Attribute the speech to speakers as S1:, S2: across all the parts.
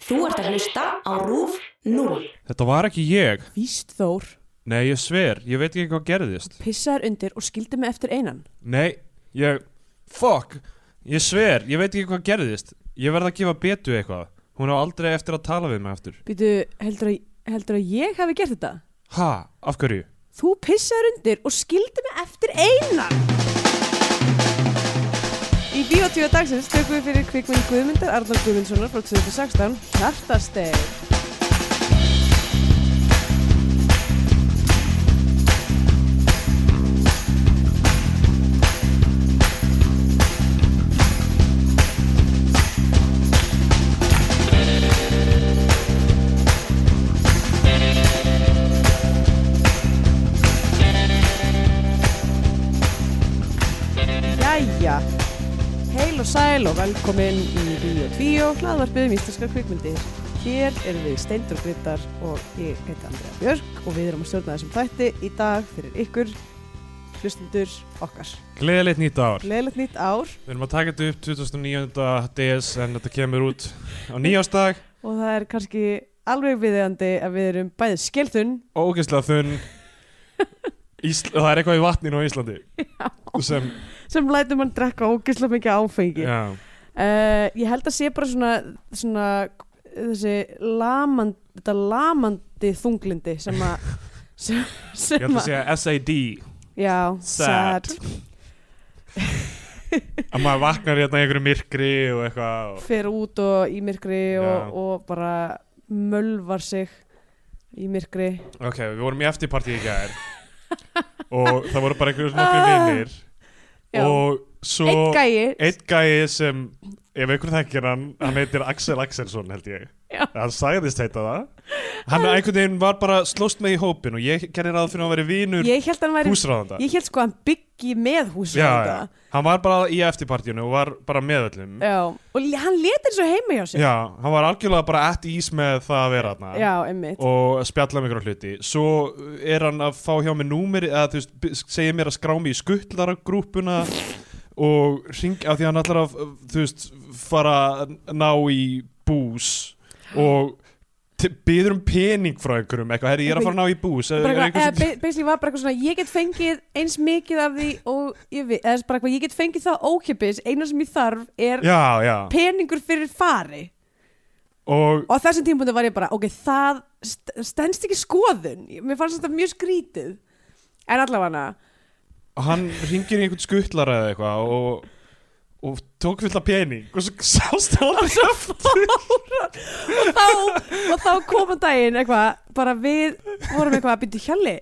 S1: Þú ert að hlusta á RÚF 0.
S2: Þetta var ekki ég.
S3: Víst Þór,
S2: Nei, ég sver, ég veit ekki hvað gerðist.
S3: pissaður undir og skildi mig eftir einan.
S2: Nei, ég... Fuck! Ég sver, ég veit ekki hvað gerðist. Ég verð að gefa betu eitthvað. Hún á aldrei eftir að tala við mig aftur.
S3: Býtu, heldur, að- heldur að ég hafi gert þetta?
S2: Ha, af hverju?
S3: Þú pissaður undir og skildi mig eftir einan! Í Bíotíu dagsins tökum við fyrir kvikmynd Guðmundar Arnald Guðmundssonar frá 2016, Hjartasteg. Jæja, heil og sæl og velkomin í Bíó 2, hlaðvarpið um íslenskar kvikmyndir. Hér erum við Steindur Gryttar og ég heiti Andrea Björk og við erum að stjórna þessum þætti í dag fyrir ykkur, hlustundur okkar.
S2: Gleðilegt nýtt ár.
S3: Gleðilegt nýtt ár
S2: Við erum að taka þetta upp 2009. DS en þetta kemur út á nýjástag.
S3: og það er kannski alveg viðeigandi að við erum bæðið skelþunn.
S2: Ógeðslega þunn. Ísl... Það er eitthvað í vatninu á Íslandi. Sem,
S3: sem lætur mann drekka ógeðslega mikið áfengi.
S2: já.
S3: Uh, ég held að sé bara svona, svona þessi lamand, þetta lamandi þunglindi sem að sem,
S2: Ég
S3: sem
S2: ætla að segja SAD.
S3: já,
S2: Sad. Að maður vaknar hérna í einhverju myrkri og eitthvað. Og...
S3: fer út og í myrkri
S2: Já.
S3: og, og bara mölvar sig í myrkri
S2: Ok, við vorum í eftirparti í gær og það voru bara einhverjum nokkuð vinnir
S3: Já.
S2: og svo
S3: einn gæi
S2: einn gæi sem ef einhver þekkir hann, hann heitir Axel Axelsson held ég,
S3: Já.
S2: hann sagðist heita það hann einhvern veginn var bara slóst með í hópin og ég gerði ráð fyrir að hann væri vinur
S3: ég held að hann væri
S2: húsráðanda
S3: ég held sko að hann byggi með húsið
S2: já, hann var bara í eftirpartíinu og var bara með öllum
S3: já, og l- hann leti eins og heima hjá sér
S2: Já, hann var algjörlega bara at ease með það að vera hann
S3: já einmitt
S2: og að spjalla um einhverja hluti svo er hann að fá hjá mig númeri eða þú veist, b- segir mér að skrá mig í skuttlargrúpuna og ring af því hann allar að þú veist, fara að ná í bús og te- biður um pening frá einhverjum eitthvað, herri ég er að fara að ná í bús er,
S3: bara
S2: er
S3: eitthvað, eða
S2: einhver sem,
S3: ba- basically var bara eitthvað svona ég get fengið eins mikið af því og ég veit, eða bara eitthvað, ég get fengið það ókjöpis eina sem ég þarf er
S2: já, já
S3: peningur fyrir fari
S2: og
S3: og á þessum tímpunktu var ég bara, ok, það st stendst ekki skoðun, Ég- mér fannst þetta mjög skrítið en allavega
S2: hann ringir í einhvern skuttlara eða eitthvað og, og tók fullt af pening og svo sást hann aldrei aftur.
S3: og þá, og þá koma daginn eitthvað, bara við vorum eitthvað að byrja hjalli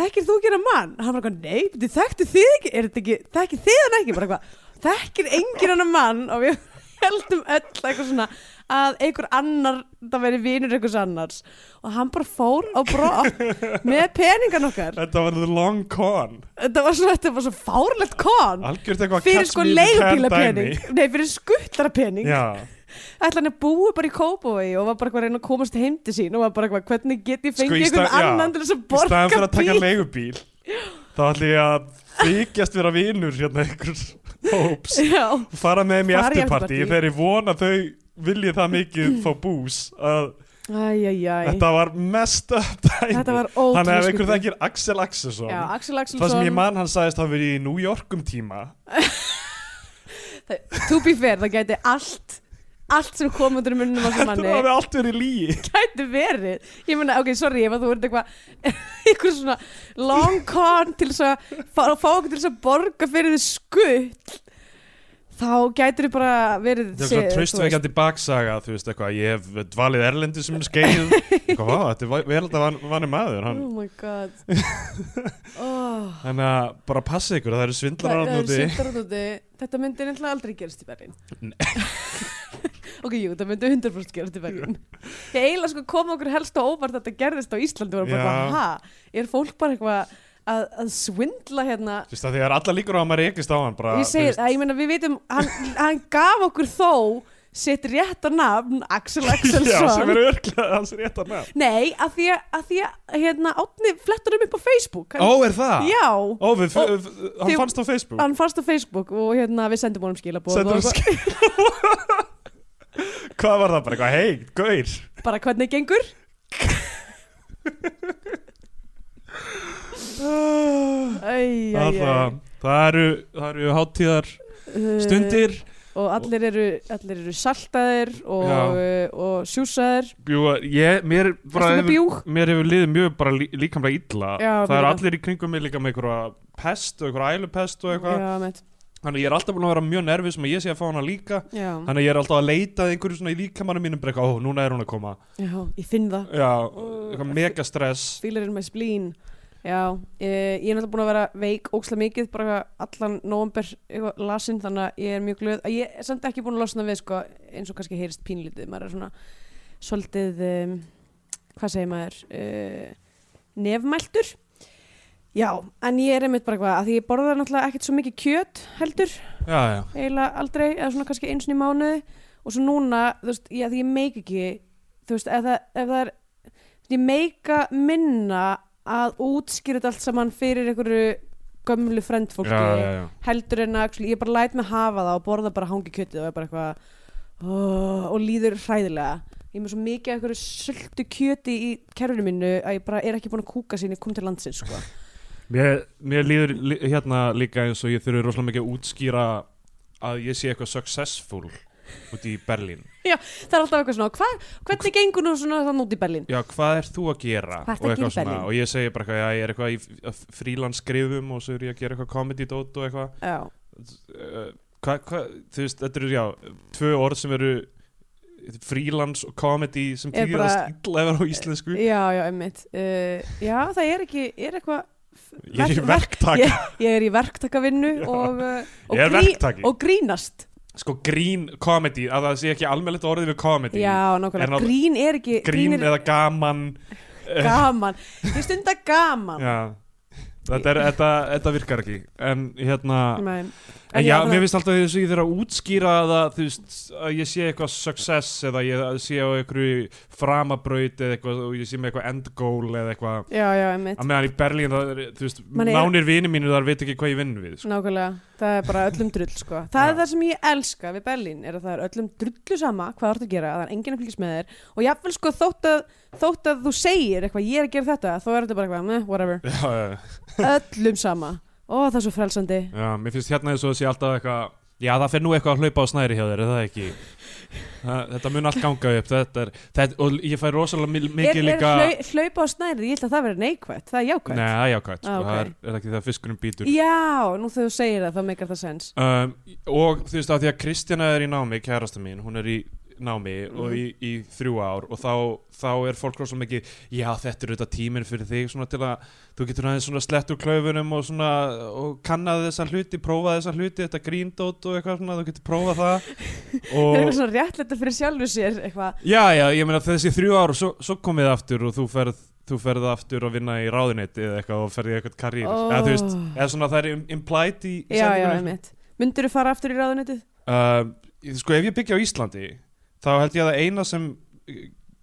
S3: þekkir þú ekki hennar mann? hann var eitthvað, nei, byrju, þekktu þið ekki er þetta ekki, þekkir þið hann ekki? bara eitthvað, þekkir engin hennar mann og við heldum öll eitthvað svona að einhver annar, það veri vinur einhvers annars og hann bara fór á brott með peningan okkar
S2: þetta var the long con
S3: þetta var svona, þetta var svo fárlegt kon
S2: algjört eitthvað
S3: fyrir
S2: catch
S3: sko
S2: me if you can dæmi.
S3: leigubílapening nei, fyrir skuttarapening
S2: Já,
S3: ætla hann að búa bara í Kópavogi og var bara eitthvað að reyna að komast heim til sín og var bara eitthvað hvernig get ég
S2: Sko, í
S3: fengið
S2: stað-
S3: einhvern
S2: já,
S3: annan til þess að
S2: í staðan fyrir
S3: borga
S2: að taka
S3: bíl
S2: leigubíl þá ætlum ég að þykjast vera vinur hérna einhvers hóps
S3: já,
S2: og fara með þeim í
S3: Fara í
S2: eftirparti
S3: eftirpartí.
S2: þegar ég vona að þau viljið það mikið fá bús að
S3: æjæjæ
S2: þetta var mest upp dæmi
S3: þetta var
S2: Þannig að ef einhver
S3: ótrúlega
S2: þekkir Axel Axelsson
S3: já, Axel
S2: Það sem ég
S3: Axelsson
S2: man hann sagðist hafa verið í New York um tíma
S3: to be fair, það gæti allt allt sem kom undir munnum á sem
S2: Þetta
S3: manni
S2: hafi allt verið lígi
S3: gæti verið ég meina, ok, sorry, ef að þú ert eitthvað eitthvað svona long con til þess að fá, fá okkur til þess að borga fyrir þið skutt þá gætir þið bara verið
S2: Þetta er
S3: sé-
S2: svona
S3: þú veist,
S2: tröstveikandi baksaga, þú veist eitthvað, ég hef dvalið erlendi sem skeið, eitthvað, "Vá, þetta er vel þetta vanni maður, hann,
S3: oh my god oh,
S2: Þannig að bara passa ykkur, það eru svindlarar
S3: það
S2: hann
S3: er
S2: úti
S3: sýndararnúti þetta myndi nefnilega aldrei gerast í Berlín
S2: Nei.
S3: ok, jú, það myndi 100% gerast í Berlín ég eiginlega sko kom okkur helst á óvart að þetta gerðist á Íslandi og bara,
S2: Já.
S3: ha, er fólk bara eitthvað að, að svindla hérna
S2: Þú veist að því er alla líkur á að maður ekist á hann bara
S3: ég
S2: þú
S3: segir,
S2: veist,
S3: að, ég meina við vitum hann, hann gaf okkur þó sitt rétta nafn, Axel
S2: Já, sem
S3: Axelsson
S2: eru örglega hans rétt að með
S3: nei, að því að, að, því að hérna, átni flettur um upp á Facebook
S2: Ó, er það?
S3: já,
S2: Ó, við,
S3: Ó,
S2: f- f- hann
S3: þið-
S2: fannst á Facebook
S3: hann fannst á Facebook og hérna við sendum honum skilabóð
S2: Sendur
S3: og,
S2: hann skil Hvað var það bara eitthvað, hei, gaur
S3: bara hvernig gengur Æ,
S2: Það, það, það eru, það eru hátíðar
S3: Eh.
S2: stundir
S3: Uh, og allir eru, allir eru saltaðir og, uh,
S2: Já.
S3: og sjúsaðir
S2: bjúga, ég, mér bara
S3: Ertu með bjúg?
S2: mér hefur liðið mjög bara lí, líkamlega illa
S3: Já,
S2: það
S3: mér
S2: eru
S3: líka.
S2: allir í kringum mig líka með einhverja pest og einhverja ælupest og eitthvað
S3: Já, mitt.
S2: þannig að ég er alltaf búin að vera mjög nervis sem að ég sé að fá hana líka
S3: Já.
S2: þannig að ég er alltaf að leita að einhverju svona í líkamannum mínum bara eitthvað, ó, núna er hún að koma
S3: Já, ég finn það
S2: já, eitthvað mega stress
S3: fílar er með splín Já, eh, ég er náttúrulega búin að vera veik ókslega mikið, bara eitthvað allan november eitthvað lasin, þannig að ég er mjög glöð að ég er samt ekki búin að losna við sko, eins og kannski heyrist pínlítið, maður er svona svolítið, um, hvað segir maður uh, nefmæltur Já, en ég er einmitt bara eitthvað, að því ég borða náttúrulega ekkert svo mikið kjöt heldur,
S2: já, já,
S3: eiginlega aldrei, eða svona kannski eins og í mánuði og svo núna, þú veist, já, því ég meik ekki þú veist, ef það, ef það er ég meika minna að útskýra þetta allt saman fyrir einhverju gömlu frendfólki
S2: já, já, já.
S3: heldur en að actually, ég bara læt mig hafa það og borða bara hangi kjötið og er bara eitthvað oh, og líður hræðilega ég er með svo mikið af einhverju söldu kjöti í kerfinu mínu að ég bara er ekki búin að kúka sín ég kom til landsins sko.
S2: Mér, mér líður lí, hérna líka eins og ég þurfi rosalega mikið að útskýra að ég sé eitthvað successful út í Berlín.
S3: það er alltaf eitthvað svona hva, hvernig gengur nú svona þann út í Berlín
S2: Já, hvað er þú að gera? Og
S3: Hvað ertu að gera í
S2: eitthvað svona,
S3: Berlín?
S2: Og ég segi bara eitthvað, já, ég er eitthvað í f- frílans skrifum og svo er ég að gera eitthvað comedy dót og eitthvað.
S3: já,
S2: Uh, Hvað, hva, þú veist, þetta eru, já, tvö orð sem eru frílans og comedy sem
S3: Er
S2: týðir að
S3: bara-
S2: skilla yfir á íslensku.
S3: já, já, einmitt uh, já, það er ekki, er eitthvað
S2: Ég er í verktaka.
S3: ég, ég er í verktakavinnu
S2: Já.
S3: og, uh, og,
S2: Ég er
S3: grí-
S2: verktaki.
S3: og grínast
S2: Sko, grín comedy, að það sé ekki almennilegt orðið við comedy.
S3: Já,
S2: En að-
S3: nákvæmlega, grín er ekki
S2: Grín
S3: er
S2: eða gaman.
S3: gaman Ég stunda gaman
S2: Já, þetta, er, þetta, þetta virkar ekki En hérna
S3: Nei.
S2: En já, mér
S3: það-
S2: finnst alltaf þess að ég þurf að útskýra það Þú veist, að ég sé eitthvað success Eða ég sé á einhverju framabraut Eða eitthvað, og ég sé með eitthvað endgoal Eða eitthvað
S3: Já, já, einmitt,
S2: Að meðan í Berlín, það er, þú veist,
S3: Man er-
S2: nánir vinir mínir þar veit ekki hvað ég vinn við sko.
S3: nákvæmlega Það er bara öllum drull, sko Það
S2: Já.
S3: er það sem ég elska við Berlín er að það er öllum drullu sama hvað þú ert að gera, að það er enginn að fylgjast með þér og jafnvel, sko, þótt að, þótt að þú segir eitthvað, ég er að gera þetta, þá er þetta bara eitthvað meh, whatever,
S2: Já, já,
S3: öllum sama Ó, það er svo frelsandi
S2: já, mér finnst hérna þess að sé alltaf eitthvað Já, það fer nú eitthvað að hlaupa á snæri hjá þér, er það ekki? Það, þetta mun allt ganga upp þetta er, þetta, Og ég fæ rosalega mi-
S3: Er,
S2: mikið
S3: er
S2: líka
S3: hlau, hlaupa á snærið, ég held að það verið neikvætt, það er jákvætt
S2: Nei, það er jákvæmt, sko,
S3: Ah, ok.
S2: það er, er ekki það fiskunum býtur
S3: Já, nú þegar þú segir það, þá meikar það sens
S2: um, Og þú veist að því að Kristjana er í námi, kærasta mín, hún er í námi
S3: Mhm.
S2: og í, í þrjú ár og þá, þá er fólk rosa mikið já þetta er auðvitað tíminn fyrir þig svona til að þú getur aðeins svona slett úr klaufunum og svona og kannað þessa hluti prófað þessa hluti, þetta gríndót og eitthvað svona, þú getur prófað það
S3: Það er eitthvað
S2: og
S3: svona réttlætt fyrir sjálfu sér eitthvað.
S2: já já, ég meina þessi þrjú ár og svo, svo komið aftur og þú ferð þú ferð aftur að vinna í ráðunetti eða eitthvað og ferði eitthvað karrýr eða þú veist, eða svona það er im- implied í í
S3: Já, já,
S2: setningunni.
S3: einmitt. Myndir þú fara aftur í ráðunetið?
S2: um, ég- sko ef ég byggja á Íslandi þá held ég að það eina sem eh,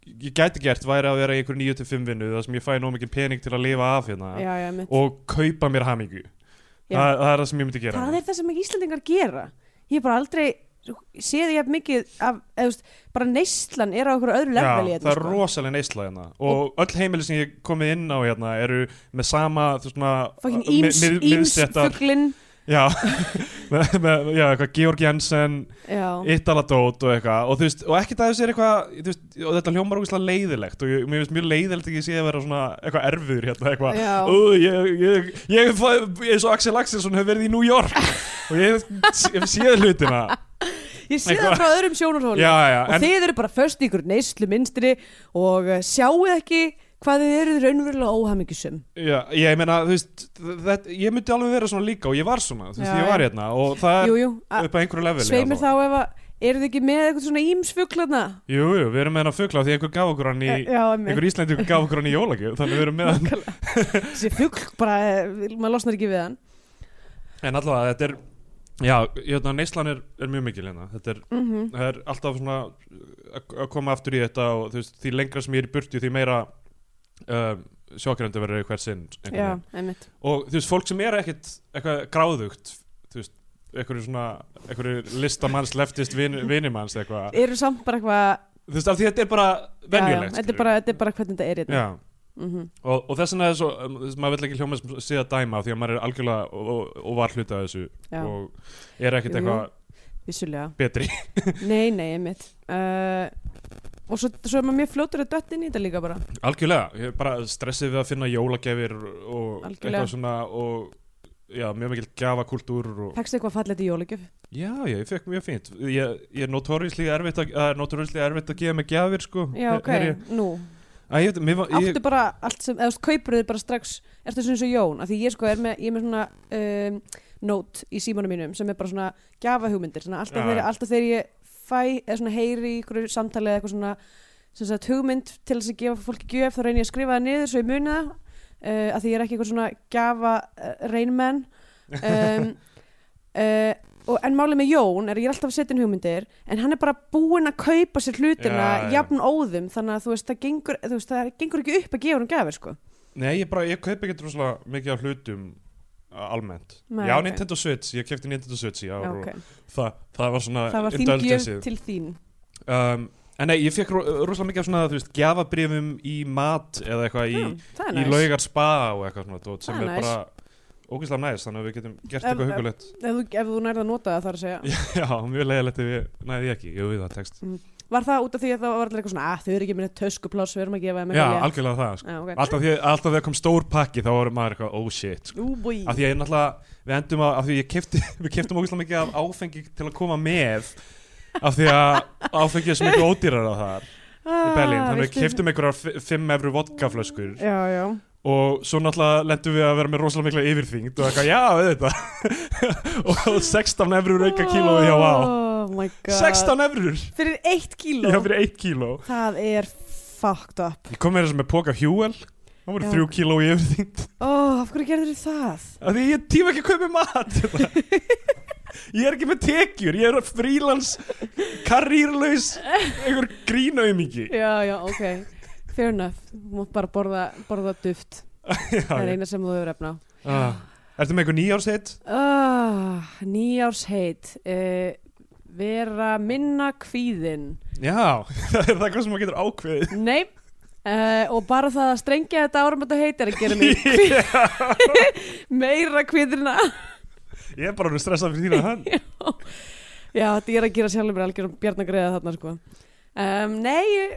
S2: ég gæti gert væri að vera í einhver 9-5 vinnu þar sem ég fæði nóg mikið pening til að lifa af hérna
S3: Já, já, einmitt.
S2: og kaupa mér hamingu
S3: Já.
S2: Þa, það er það sem ég myndi gera hérna.
S3: Það er það sem ekki Íslandingar gera. Ég hef bara aldrei séð ég mikið af, eða þú veist, bara neyslan er á okkur öðru hérna, sko.
S2: Já,
S3: lefveli.
S2: það er rosalega neysla hérna og, öll heimili sem ég hef komið inn á hérna eru með sama þú svona
S3: Fokkin
S2: mi-
S3: íms,
S2: mið-
S3: íms
S2: miðstéttar-
S3: fugglinn.
S2: já, með, með, já, eitthvað Georg Jensen
S3: Já,
S2: E- Ítaladót og eitthvað og, þú veist, og ekkert að þessi er eitthvað þú veist, og þetta hljómar ógeðslega leiðilegt og ég, mér finnst mjög leiðilegt að ég sé að vera svona eitthvað erfiður hérna eitthvað
S3: Já.
S2: "Ú, ég, ég, ég, hef fæ- ég, eins og Axel Axelsson hefur verið í New York og ég hef, ég hef séð hlutina
S3: ég sé
S2: eitthvað-
S3: það frá öðrum sjónarhóli.
S2: já, já,
S3: og
S2: en,
S3: þið eru bara först í ykkur neyslu minnstri og uh, sjáu ekki hvað þið eru raunverulega óhamingjusum.
S2: já, ég meina þú veist, þetta, ég myndi alveg vera svona líka og ég var svona þú veist,
S3: Já,
S2: ég var
S3: já.
S2: hérna og það er
S3: Jú, jú, að-
S2: upp á einhverju leveli
S3: sveimir
S2: allavega.
S3: þá ef að eru þið ekki með eitthvað svona ímsfuglana?
S2: Jú, jú, við erum með hennar fugla því einhver gaf okkur hann í
S3: Eh, Já, einmitt.
S2: einhver Íslandi gaf okkur hann í jólagjöf þannig við erum með hann
S3: þessi fugl bara, eh, maður losnar ekki við hann
S2: En allavega þetta er Já, hérna, neyslan er, er mjög mikil hérna Þetta er, það er alltaf svona að- að koma aftur í þetta og þú veist, því lengra sem ég er í burtu því meira um, sjókrandi verður hver sinn einhvern
S3: já,
S2: veginn.
S3: einmitt
S2: og þú veist, fólk sem er ekkit eitthvað gráðugt þú veist, einhverju svona, einhverju listamanns leftist vin, vinimanns eitthvað
S3: eru samt bara eitthvað
S2: þú veist, af því þetta er bara
S3: Já, já,
S2: venjulegt
S3: þetta, er
S2: skilurðu.
S3: bara, þetta er bara hvernig þetta er hérna.
S2: já. og, og þess vegna er svo, um, þess- maður vill ekki hljóma sem sé að dæma af því að maður er algjörlega og, og, og var hluti af þessu
S3: Já.
S2: og er ekkert
S3: Jú, jú.
S2: eitthvað
S3: vissulega
S2: betri
S3: nei, nei, einmitt uh, og svo, svo er maður mjög fljótur að dött inn í þetta líka bara
S2: algjörlega, ég er bara stressið við að finna jólagjafir og
S3: Algjörlega.
S2: eitthvað svona og já, mjög mikil gjafakultúr og
S3: fækst eitthvað fallið í jólagjöf
S2: já, já, ég fekk mjög fínt ég, ég er notóriðslega erfitt að, að, notóriðslega erfitt að gefa mig gjafir sko
S3: já, ok,
S2: Er ég,
S3: nú
S2: að, ég, veit- mér var- ég,
S3: áttu bara allt sem, eða þú veist, kaupur þið bara strax ertu svona eins og Jón, af því ég sko er með, ég er með svona um, nót í símanum mínum sem er bara svona gjafahugmyndir svona alltaf,
S2: Já.
S3: þegar, alltaf þegar ég fæ eða svona heyri í ykkur samtali eða eitthvað svona sem sagt hugmynd til þess að gefa fólki gjöf þá reyni ég að skrifa það niður svo ég muni það uh, af því ég er ekki eitthvað svona gjafa uh, reynmenn um, uh, og, en málið með Jón er að ég er alltaf að setja inn hugmyndir en hann er bara búinn að kaupa sér hlutina
S2: Já, já.
S3: jafn óðum þannig að þú veist það gengur, þú veist, það gengur ekki upp að gefa hann gafir sko.
S2: Nei, ég bara, ég kaup ekki droslega mikið af hlutum uh, almennt.
S3: Nei,
S2: já,
S3: ok.
S2: Nintendo Switch, ég kefti Nintendo Switch í ár
S3: okay.
S2: og það, það var svona
S3: það var þín gjöf
S2: indulgensið.
S3: til þín
S2: Um, en nei, ég fekk ro- rosalega mikið af svona, þú veist, gjafabrifum í mat eða eitthvað í,
S3: Já, það
S2: í
S3: er næs.
S2: laugar spa og eitthvað svona, dót, sem
S3: Það er
S2: er
S3: næs.
S2: bara ógeðslega næst, þannig að við getum gert
S3: Ef-
S2: eitthvað
S3: ef-
S2: hugulegt.
S3: ef þú, ef þú nærði að nota það þarf að segja
S2: já, mjög leiðilegt ef ég næði ekki, ég við það tekst.
S3: var það út af því að það var allir eitthvað svona að þau eru ekki minni töskupláss, við erum að gefa þeim
S2: Já,
S3: eitthvað létt."
S2: algjörlega það, sko.
S3: Já, ok.
S2: Alltaf því, alltaf því að kom stór pakki, þá voru maður eitthvað, oh shit, sko.
S3: Ú, búi.
S2: af því að ég náttúrulega, við endum að, af því ég kefti, við keftum ógeðslega mikið af áfengi til að koma með af því að áfengi er svo mikið ódýrar á þar
S3: Ah,
S2: í Berlín, þannig við
S3: viltu-
S2: keftum einhverjar fi- fimm efru vodkaflöskur
S3: já, já,
S2: og svo náttúrulega lendum við að vera með rosalega mikla yfirþyngd og eitthvað, já, auðvitað og 16 efru rauka kílói hjá á
S3: oh my god
S2: 16 efrur,
S3: fyrir eitt kíló
S2: já, fyrir 1 kíló
S3: það er fucked up
S2: ég kom með þessu með póka hjúel það voru
S3: Já.
S2: 3 kíló í yfirþyngd
S3: oh, af hverju gerður það?
S2: af því ég tíma ekki að kaupa mat ég er ekki með tekjur ég er frílans karrýrlaus einhver grínaumingi
S3: já, já, ok fair enough, þú mátt bara borða, borða duft það er eina sem þú hefur efna
S2: ah. Ertu með einhver nýjársheitt?
S3: ah, nýjársheit uh, vera minna kvíðin
S2: Já, það er það hvað sem maður getur ákveðið
S3: nei Uh, og bara það að strengja þetta árum þetta heit er að gera mig kvíð, meira kvíðrina
S2: Ég er bara orðinn stressað fyrir þína hann
S3: já, þetta er að gera sjálfur mér algjörum bjarnagreða þarna sko um, nei, ég,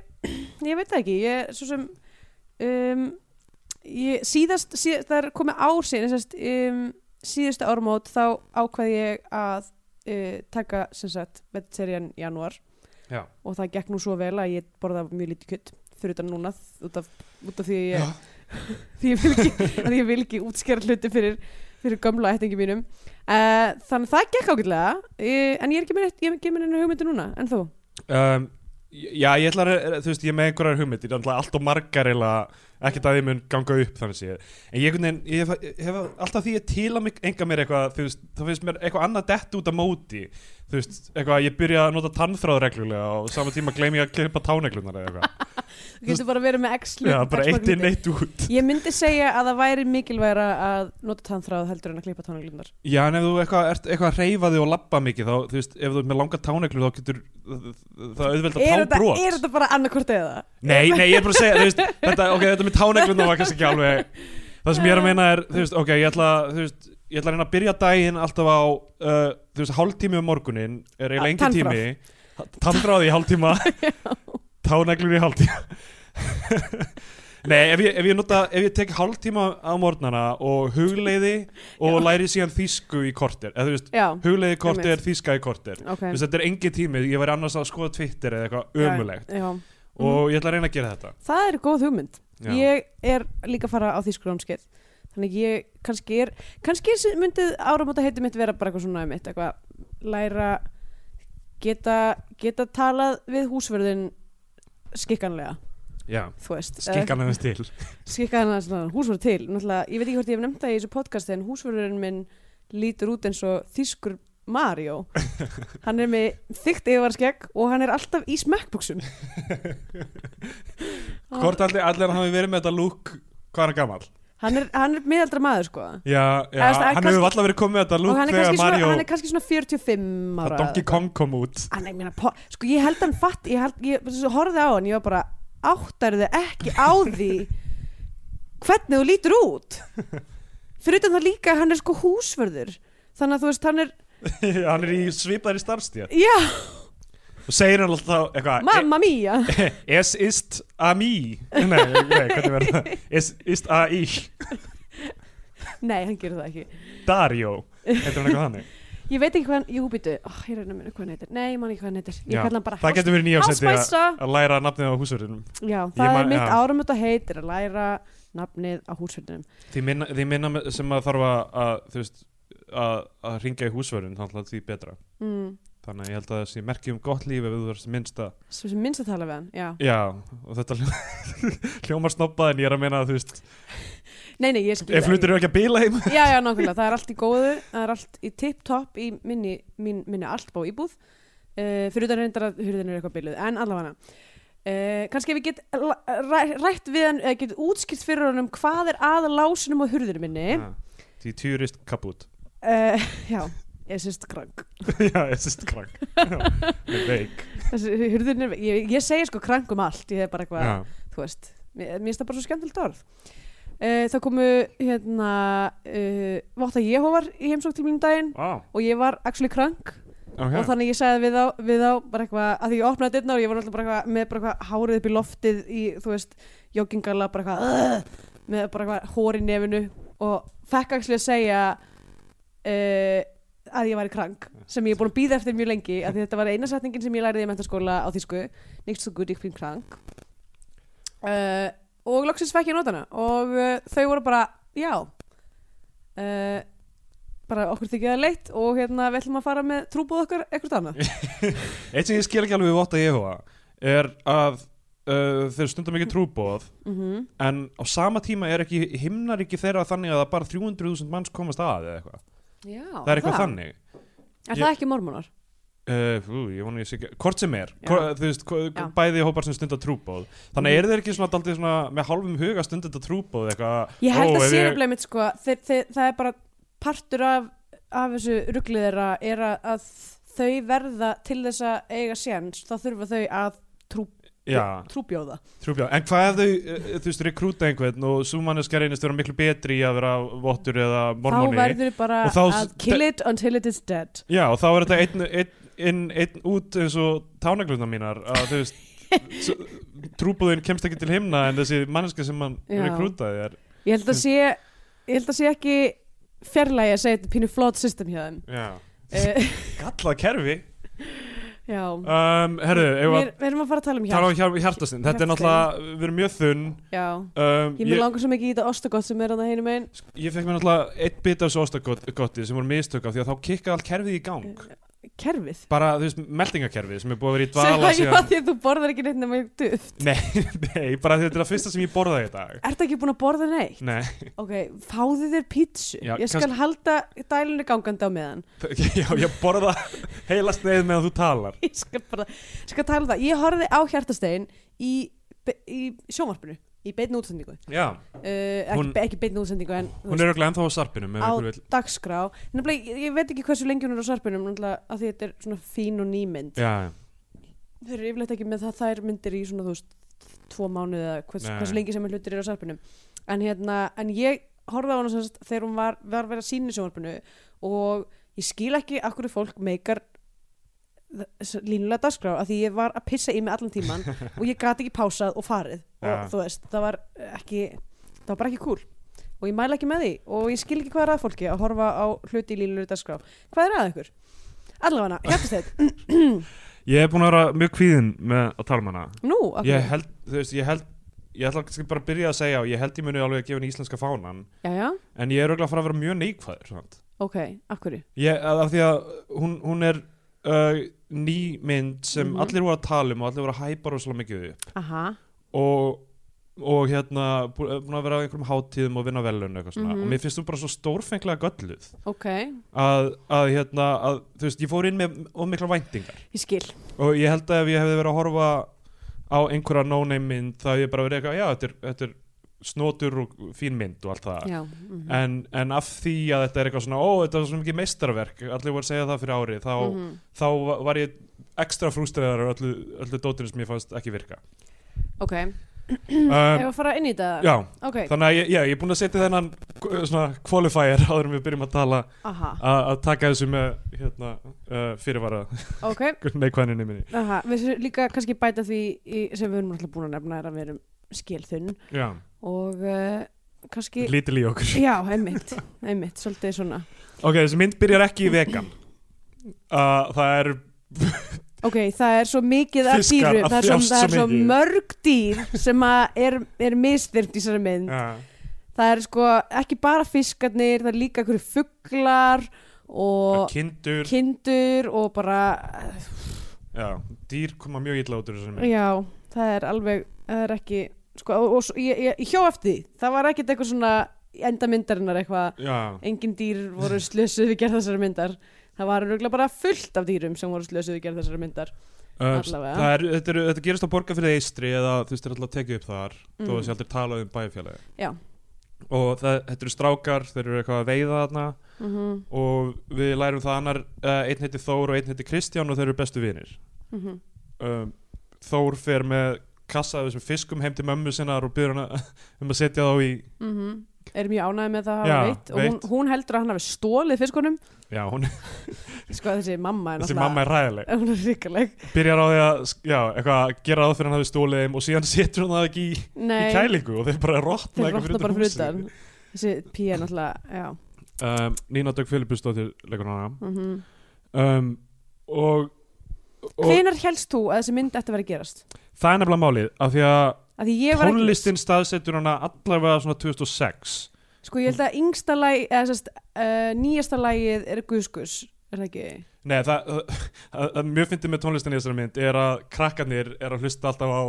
S3: ég veit það ekki ég, svo sem um, ég, síðast, síðast það er komið ár síðan sest, um, síðustu ármót þá ákvað ég að uh, taka sem sagt vegetarian í janúar
S2: Já.
S3: og það gekk nú svo vel að ég borða mjög lítið kjött fyrir utan núna út af, út af því að
S2: Já.
S3: ég, því ég vil ekki, að ég vil ekki útskjara hluti fyrir, fyrir gömla ættingi mínum uh, þannig að það gekk ágætlega uh, en ég er ekki með neitt- ég er ekki með neina hugmyndu núna en þú?
S2: um, Já, ég ætla að, þú veist, ég er með einhverjar hugmynd Ég er alltaf allt og margar eða ekkert að ég mun ganga upp þannig sé En ég, einhvern veginn, ég hef, hef alltaf því ég til að mig, enga mér eitthvað þú veist, þá finnst mér eitthvað annað dett út að móti Þú veist, eitthvað, ég byrja að nota tannþráð reglulega og á sama tíma gleym ég að klippa táneglunar eða eitthvað
S3: Þú getur bara verið með x
S2: Já,
S3: hlut-
S2: bara
S3: x
S2: eitt
S3: mark
S2: inn,
S3: hluti.
S2: eitt út
S3: Ég myndi segja að það væri mikilværa að nota tannþráð heldur en að klippa tannglindar
S2: Já, en ef þú eitthvað, ert eitthvað reyfaði og labba mikið þá, þú veist, ef þú ert með langa táneglur þá getur það auðveld
S3: er,
S2: að
S3: þetta-
S2: tábrot
S3: er þetta bara annarkort eða?
S2: Nei, nei, ég er bara að segja, þú veist, þetta, ok, þetta með táneglunum var kannski ekki alveg Það sem ég er að meina er, þú veist, ok, ég ætla, þú veist, ég ætla að reyna að byrja daginn alltaf á, uh, þú veist, hálftími um morgunin er eiginlega
S3: Ja,
S2: engin tími Tannfráði í hálftíma, táneglur í hálftíma Nei, ef ég, ef ég nota, ef ég tek hálftíma á morgnana og hugleiði og læri síðan þýsku í korter, eða þú veist,
S3: Já,
S2: hugleiði í korter,
S3: Einmitt.
S2: þýska í korter
S3: ok
S2: Þú veist, þetta er engin tími, ég væri annars að skoða Twitter eða eitthvað ömulegt
S3: já, já.
S2: og ég ætla að reyna að gera þetta
S3: Það er góð hugmynd
S2: Já.
S3: Ég er líka að fara á þýskur námskeið Þannig ég kannski er kannski sé- myndið áramóta heiti mitt vera bara eitthvað svona mitt, eitthvað læra geta, geta talað við húsverðin skikkanlega,
S2: Já,
S3: þú veist Eh,
S2: skikkan henni til
S3: skikka hann að húsvörður til náttúrulega, ég veit ekki hvort ég hef nefnt það í þessu podcasti en húsvörðurinn minn lítur út eins og þýskur Mario hann er með þykkt yfarskegg og hann er alltaf í smekkbuksum
S2: Hvort allir, allir hann hafi verið með þetta lúk hvað er hann gamall?
S3: hann er, hann er miðaldra maður sko
S2: Já, já,
S3: Eða, þú veist,
S2: hann
S3: hann
S2: hefur
S3: kannski-
S2: alltaf verið komið með þetta
S3: og
S2: lúk
S3: hann er,
S2: þegar
S3: kannski svona,
S2: Mario,
S3: hann er kannski svona 45
S2: það
S3: ára
S2: Donkey Kong kom út
S3: hann er minna, sko ég held hann fatt ég, held, ég svo horfði á hann, ég var bara áttarðu ekki á því hvernig þú lítur út fyrir utan það líka að hann er sko húsvörður þannig að þú veist hann er
S2: Hann er í svipaðri starfstíð
S3: já,
S2: Og segir hann alltaf eitthvað
S3: mamma mía
S2: e- Es ist a mi Nei, nei, hvernig verður það Es ist a ich
S3: nei, hann gerir það ekki
S2: Dario Heitir hann eitthvað þannig
S3: ég veit ekki hvað hann, jú býtu, oh, ég reyna að minna hvað hann heitir nei, ég man ekki hvað hann heitir, ég
S2: Já,
S3: kalla hann bara
S2: Það getur verið nýja að,
S3: hásmæsa
S2: að læra nafnið á húsverðinum
S3: já, það
S2: man-
S3: er mitt
S2: já.
S3: áramöta heit er að læra nafnið á húsvörðunum
S2: Því minna, því minna me- sem að þarf að, að þú veist að, að ringja í húsverðin þannig að því betra
S3: mm,
S2: Þannig að ég held að það sé merki um gott líf ef þú verður minnst að
S3: sem sem minnst að tala við hann, já
S2: Já, og þetta hljó- hljómar snobbað en ég er að meina að þú veist
S3: nei, nei, ég skil
S2: Ef hlutir eru ekki að bíla heima
S3: Já, já, nákvæmlega, það er allt í góðu það er allt í tip-top í minni, minni, minni alltbá íbúð uh, fyrir utan reyndar að hurðin er eitthvað bylluð en allavega uh, kannski ef ég get la- ræ- rætt við hann eða get útskilt fyrir honum hvað er að lásunum og hurðinu minni uh,
S2: Ah, Því tjúrist kaput
S3: Já, ég sést krank
S2: Já, þessi skrank Já, Veik
S3: Þessi, hurðin er, ég, ég segi sko krank um allt ég er bara eitthvað,
S2: Já,
S3: þú veist mér mér finnst það bara svo skemmtilegt orð uh, þá komu hérna uh, Votta Jehovar í heimsók til mínum daginn
S2: á,
S3: og ég var actually krank og
S2: ok
S3: þannig ég sagði við þá, við þá bara eitthvað, að því ég opnaði dyrna og ég var alltaf bara eitthvað með bara eitthvað hárið upp í loftið í, þú veist, joggingala bara eitthvað, uh, með bara eitthvað hór í nefinu og fekk actually að segja uh, að ég væri krank sem ég er búin að býða eftir mjög lengi að þetta var eina setningin sem ég læriði í mentaskóla á þýsku, nýtt svo guð ég finn krank uh, og loksins fekk ég notana og uh, þau voru bara, já uh, bara okkur þykja það leitt og hérna við ætlum að fara með trúbúð okkar ekkert annað
S2: Eitt sem ég skil ekki alveg við votta ég hóa Er að uh, þeir stundum ekki trúbóð
S3: mm -hmm.
S2: En á sama tíma er ekki himnar ekki þeirra þannig að það bara 300.000 manns komast að eða eitthvað
S3: Já,
S2: Það er eitthvað þannig
S3: Er
S2: Ég-
S3: það ekki mormónar?
S2: Uh, ú, ég vona ég sé ekki, hvort sem er
S3: Já.
S2: hvort, þú veist, hvo-
S3: Já. Mhm.
S2: bæði hópar sem stundar trúbóð þannig er þeir ekki svona, dálítið svona með hálfum huga stundar trúbóð eitthvað
S3: Ég held
S2: ó,
S3: að
S2: ef
S3: sé nefnilega mitt sko þeir, þeir, það er bara partur af, af þessu ruglið þeirra er að, að þau verða til þess að eiga séns þá þurfa þau að trú,
S2: Já,
S3: trúbjóða
S2: Trúbjörn, en hvað ef þau, eh, þú veist, rekrúta einhvern og svo manneska reynist vera miklu betri í að vera vottur eða mormóni
S3: Þá verður bara
S2: Og þá-
S3: að kill it until it is dead
S2: Já, og þá er þetta einn, einn, einn, einn út eins og tánaglutna mínar að þú veist, s- trúbúðin kemst ekki til himna en þessi manneska sem hann
S3: Já.
S2: rekrútaði er
S3: Ég held að sé, ég held að sé ekki fjarlægi að segja þetta er pínu flott system hjá þeim
S2: Já,
S3: uh,
S2: gallað kerfi
S3: Já
S2: um, Herru, ef
S3: Við
S2: að
S3: við erum að fara að tala um
S2: tala
S3: hjálp
S2: um hjár- hjartastinn þetta er
S3: Hjartastinn.
S2: náttúrulega, við erum mjög þunn
S3: Já
S2: um,
S3: Ég mér langar svo mikið í þetta ostagott sem er að það hinum einn
S2: ég fekk mér náttúrulega eitt bit af svo ástagotti sem voru mistök af því að þá kikkaði allt kerfið í gang
S3: Kerfið
S2: bara, þú veist, meldingakerfið sem er búið að vera í
S3: Mm. Sem
S2: dvala
S3: að já,
S2: síðan
S3: því að þú borðar ekki neitt nema ég duft
S2: Nei, nei, bara þetta er það fyrsta sem ég borðaði í dag
S3: Ertu ekki búin að borða neitt?
S2: Nei,
S3: Ok, fáðu þér pítsu
S2: Já,
S3: Ég skal halda dælunni gangandi á meðan
S2: já, ég borða heila sneið meðan þú talar
S3: Ég skal bara, ég skal tala um það Ég horfði á hjartastegin í, be- í sjónvarpinu Í beinni útsendingu uh,
S2: Já,
S3: ekki,
S2: Hún-
S3: be- ekki beinni útsendingu en þú
S2: hún er örugglega ennþá á sarpinum ef
S3: á
S2: einhver vill.
S3: dagskrá Nefnilega, ég, ég veit ekki hversu lengi hún er á sarpinum Náttúrulega að því þetta er svona fín og nýmynd
S2: Já, já.
S3: Þeir eru yfirleitt ekki með það þær myndir í svona, þú veist, tvo mánuði eða hvers,
S2: Nei.
S3: hversu lengi sem er hlutir eru á sarpinum. En hérna, en ég horfði á hana sem sagt þegar hún var, var verið að sína í sjónvarpinu og ég skil ekki af hverju fólk meikar þ- s- línulega dagskrá af því ég var að pissa í mig allan tíman og ég gat ekki pásað og farið
S2: Ja.
S3: og þú veist, það var ekki það var bara ekki cool og ég mæla ekki með því og ég skil ekki hvað er að fólki að horfa á hluti í línulega dagskrá hvað er að ykkur? Allavega, hjartasteit,
S2: Ég hef búin að vera mjög kvíðin með að tala um hana
S3: nú, af
S2: Ég
S3: hverju?
S2: held, þú veist, ég held Ég ætla kannski bara að byrja að segja og ég held ég muni alveg að gefa henni íslenska fánan
S3: Jæja.
S2: En ég er auðvitað að fara að vera mjög neikvæður svont.
S3: Ok, akkurri.
S2: Ég, að- af því að hún, hún er uh, ný mynd sem
S3: Mhm.
S2: allir voru að tala um og allir voru að hæpa rosalega mikið upp
S3: Aha.
S2: og, og hérna bú- búin að vera á einhverjum hátíðum og vinna velun eitthvað svona
S3: Mhm.
S2: og mér finnst þú bara svo stórfenglega gölluð
S3: Ok.
S2: að, að hérna að, þú veist, ég fór inn með of mikla væntingar
S3: Ég skil.
S2: og ég held að ef ég hefði verið að horfa á einhverja no-name mynd þá hefði ég bara verið eitthvað, já, þetta er, þetta er snotur og fín mynd og allt það
S3: já, mhm.
S2: en, en af því að þetta er eitthvað svona ó, þetta er svona mikið meistarverk, allir voru að segja það fyrir ári þá,
S3: Mhm.
S2: þá va- var ég ekstra frústræðar öllu, öllu dótinu sem ég fannst ekki virka
S3: ok, ef
S2: um,
S3: að fara inn í þetta
S2: já,
S3: ok,
S2: þannig að ég, já, ég er búin að setja þennan uh, svona qualifier áður en við byrjum að tala
S3: aha,
S2: að að taka þessu með hérna, uh, fyrirvara
S3: ok
S2: neikvæninni minni
S3: aha. við þurfum líka kannski bæta því í, sem við erum alltaf búin að nefna er að við erum skilþunn
S2: já,
S3: og uh, kannski
S2: lítil í okkur
S3: já, einmitt, einmitt, svolítið svona
S2: ok, þessi mynd byrjar ekki í vegan uh, það er
S3: ok, það er svo mikið af
S2: Fiskar
S3: dýru
S2: að
S3: það er svo,
S2: þjást
S3: það er
S2: svo
S3: svo
S2: mikið.
S3: mörg dýr sem að er, er misþyrmt í þessari mynd
S2: uh,
S3: það er sko ekki bara fiskarnir það er líka einhverju fuglar og
S2: kindur
S3: kindur og bara
S2: já, dýr koma mjög illa út úr þessari mynd
S3: já, það er alveg það er ekki sko, og, og svo- ég, ég, ég hjó eftir því, það var ekkert eitthvað svona í enda myndarinnar eitthvað
S2: Já,
S3: engin dýr voru slösuð við gerð þessari myndar það var röglega bara fullt af dýrum sem voru slösuð við gerð þessari myndar
S2: uh,
S3: Allavega.
S2: það er, þetta, er, þetta gerist á borga fyrir eistri eða þú veist, þetta er alltaf tekið upp þar þó að
S3: Mm.
S2: þessi aldrei talað um bæfjalið
S3: Já.
S2: Og það, þetta eru strákar, þeir eru eitthvað að veiða þarna
S3: mm -hmm,
S2: og við lærum það annar, uh, einn heiti Þór og einn heiti Kristján og þeir eru bestu vinir
S3: mm -hmm.
S2: um, Þór fer með kassa af þessum fiskum heim til mömmu sinnar og byrður hana um að setja þá í
S3: er mjög ánægð með það að
S2: Já,
S3: hafa veitt og hún,
S2: veitt.
S3: hún heldur að hann hafi stólið fiskunum
S2: Já, hún,
S3: sko þessi mamma er
S2: þessi
S3: náttúrulega-
S2: mamma er ræðileg
S3: hún er ríkuleg
S2: Byrjar á því að, já, eitthvað að gera það fyrir hann hafi stólið þeim og síðan setur hún það ekki í, í
S3: Nei,
S2: kælingu og þeir bara rotna
S3: þeir
S2: eitthvað
S3: rotna bara fyrir
S2: húsið.
S3: utan Þessi pía er náttúrulega, já
S2: um, Nína Dögg Filipusdóttir leikur hana
S3: mm -hmm.
S2: um, og, og
S3: Hvenar helst þú að þessi mynd ætti að vera að gerast?
S2: það er nefnilega málið af því að
S3: Af því ég var ekki-
S2: tónlistin staðsetur hana allavega svona 2006
S3: Sko ég held að yngsta lagi, eða sérst uh, nýjasta lagið er Guðskus Er það ekki?
S2: Nei, það, það, það, það mjög fyndið með tónlistin í þessari mynd er að krakkarnir er að hlusta alltaf á,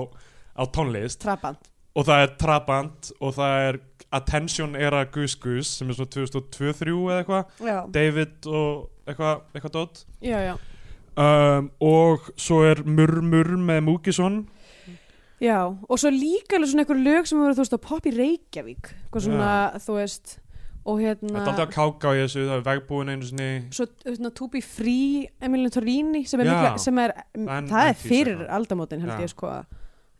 S2: á tónlist
S3: Trabant
S2: og það er trabant og það er Attention era Goose Goose sem er svona 2002-3 eða eitthvað
S3: Já,
S2: David og eitthvað eitthvað dót
S3: já, já
S2: um, og svo er Murmur með Múkisson
S3: Já, og svo líka alveg svona einhver lög sem voru, þú veist, að poppa í Reykjavík Hvað svona, þú veist Og
S2: Það
S3: hérna
S2: er alltaf að káka á í þessu, það er vegbúin einu sinni
S3: Svo, hérna, To Be Free, Emilio Torrini sem er,
S2: Já.
S3: mikla, sem er,
S2: En-
S3: það
S2: en
S3: er
S2: því
S3: fyrir
S2: seinna.
S3: aldamótin held
S2: Já.
S3: ég sko uh,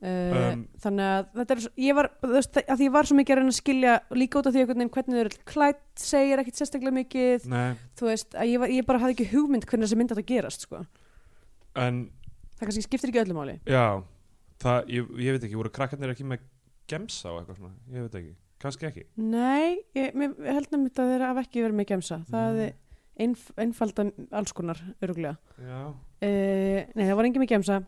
S2: Um,
S3: þannig að þetta er, svo- ég var þú veist, að því ég var svo mikið að reyna að skilja líka út af því einhvern veginn hvernig þau eru klætt segir ekkit sérstaklega mikið
S2: Nei,
S3: þú veist, að ég, var, ég bara hafði ekki hugmynd hvernig þessi mynd átti að gerast sko.
S2: en
S3: það kannski skiptir ekki öllu máli
S2: já það, ég, ég veit ekki, voru krakkarnir ekki með gemsa og eitthvað svona, ég veit ekki kannski ekki,
S3: nei, ég, mér, ég held að þetta þeirra af ekki verið með gemsa það
S2: Nei.
S3: hefði einf, einfalda alls konar öruglega
S2: já
S3: uh, nei, það var engin með gemsa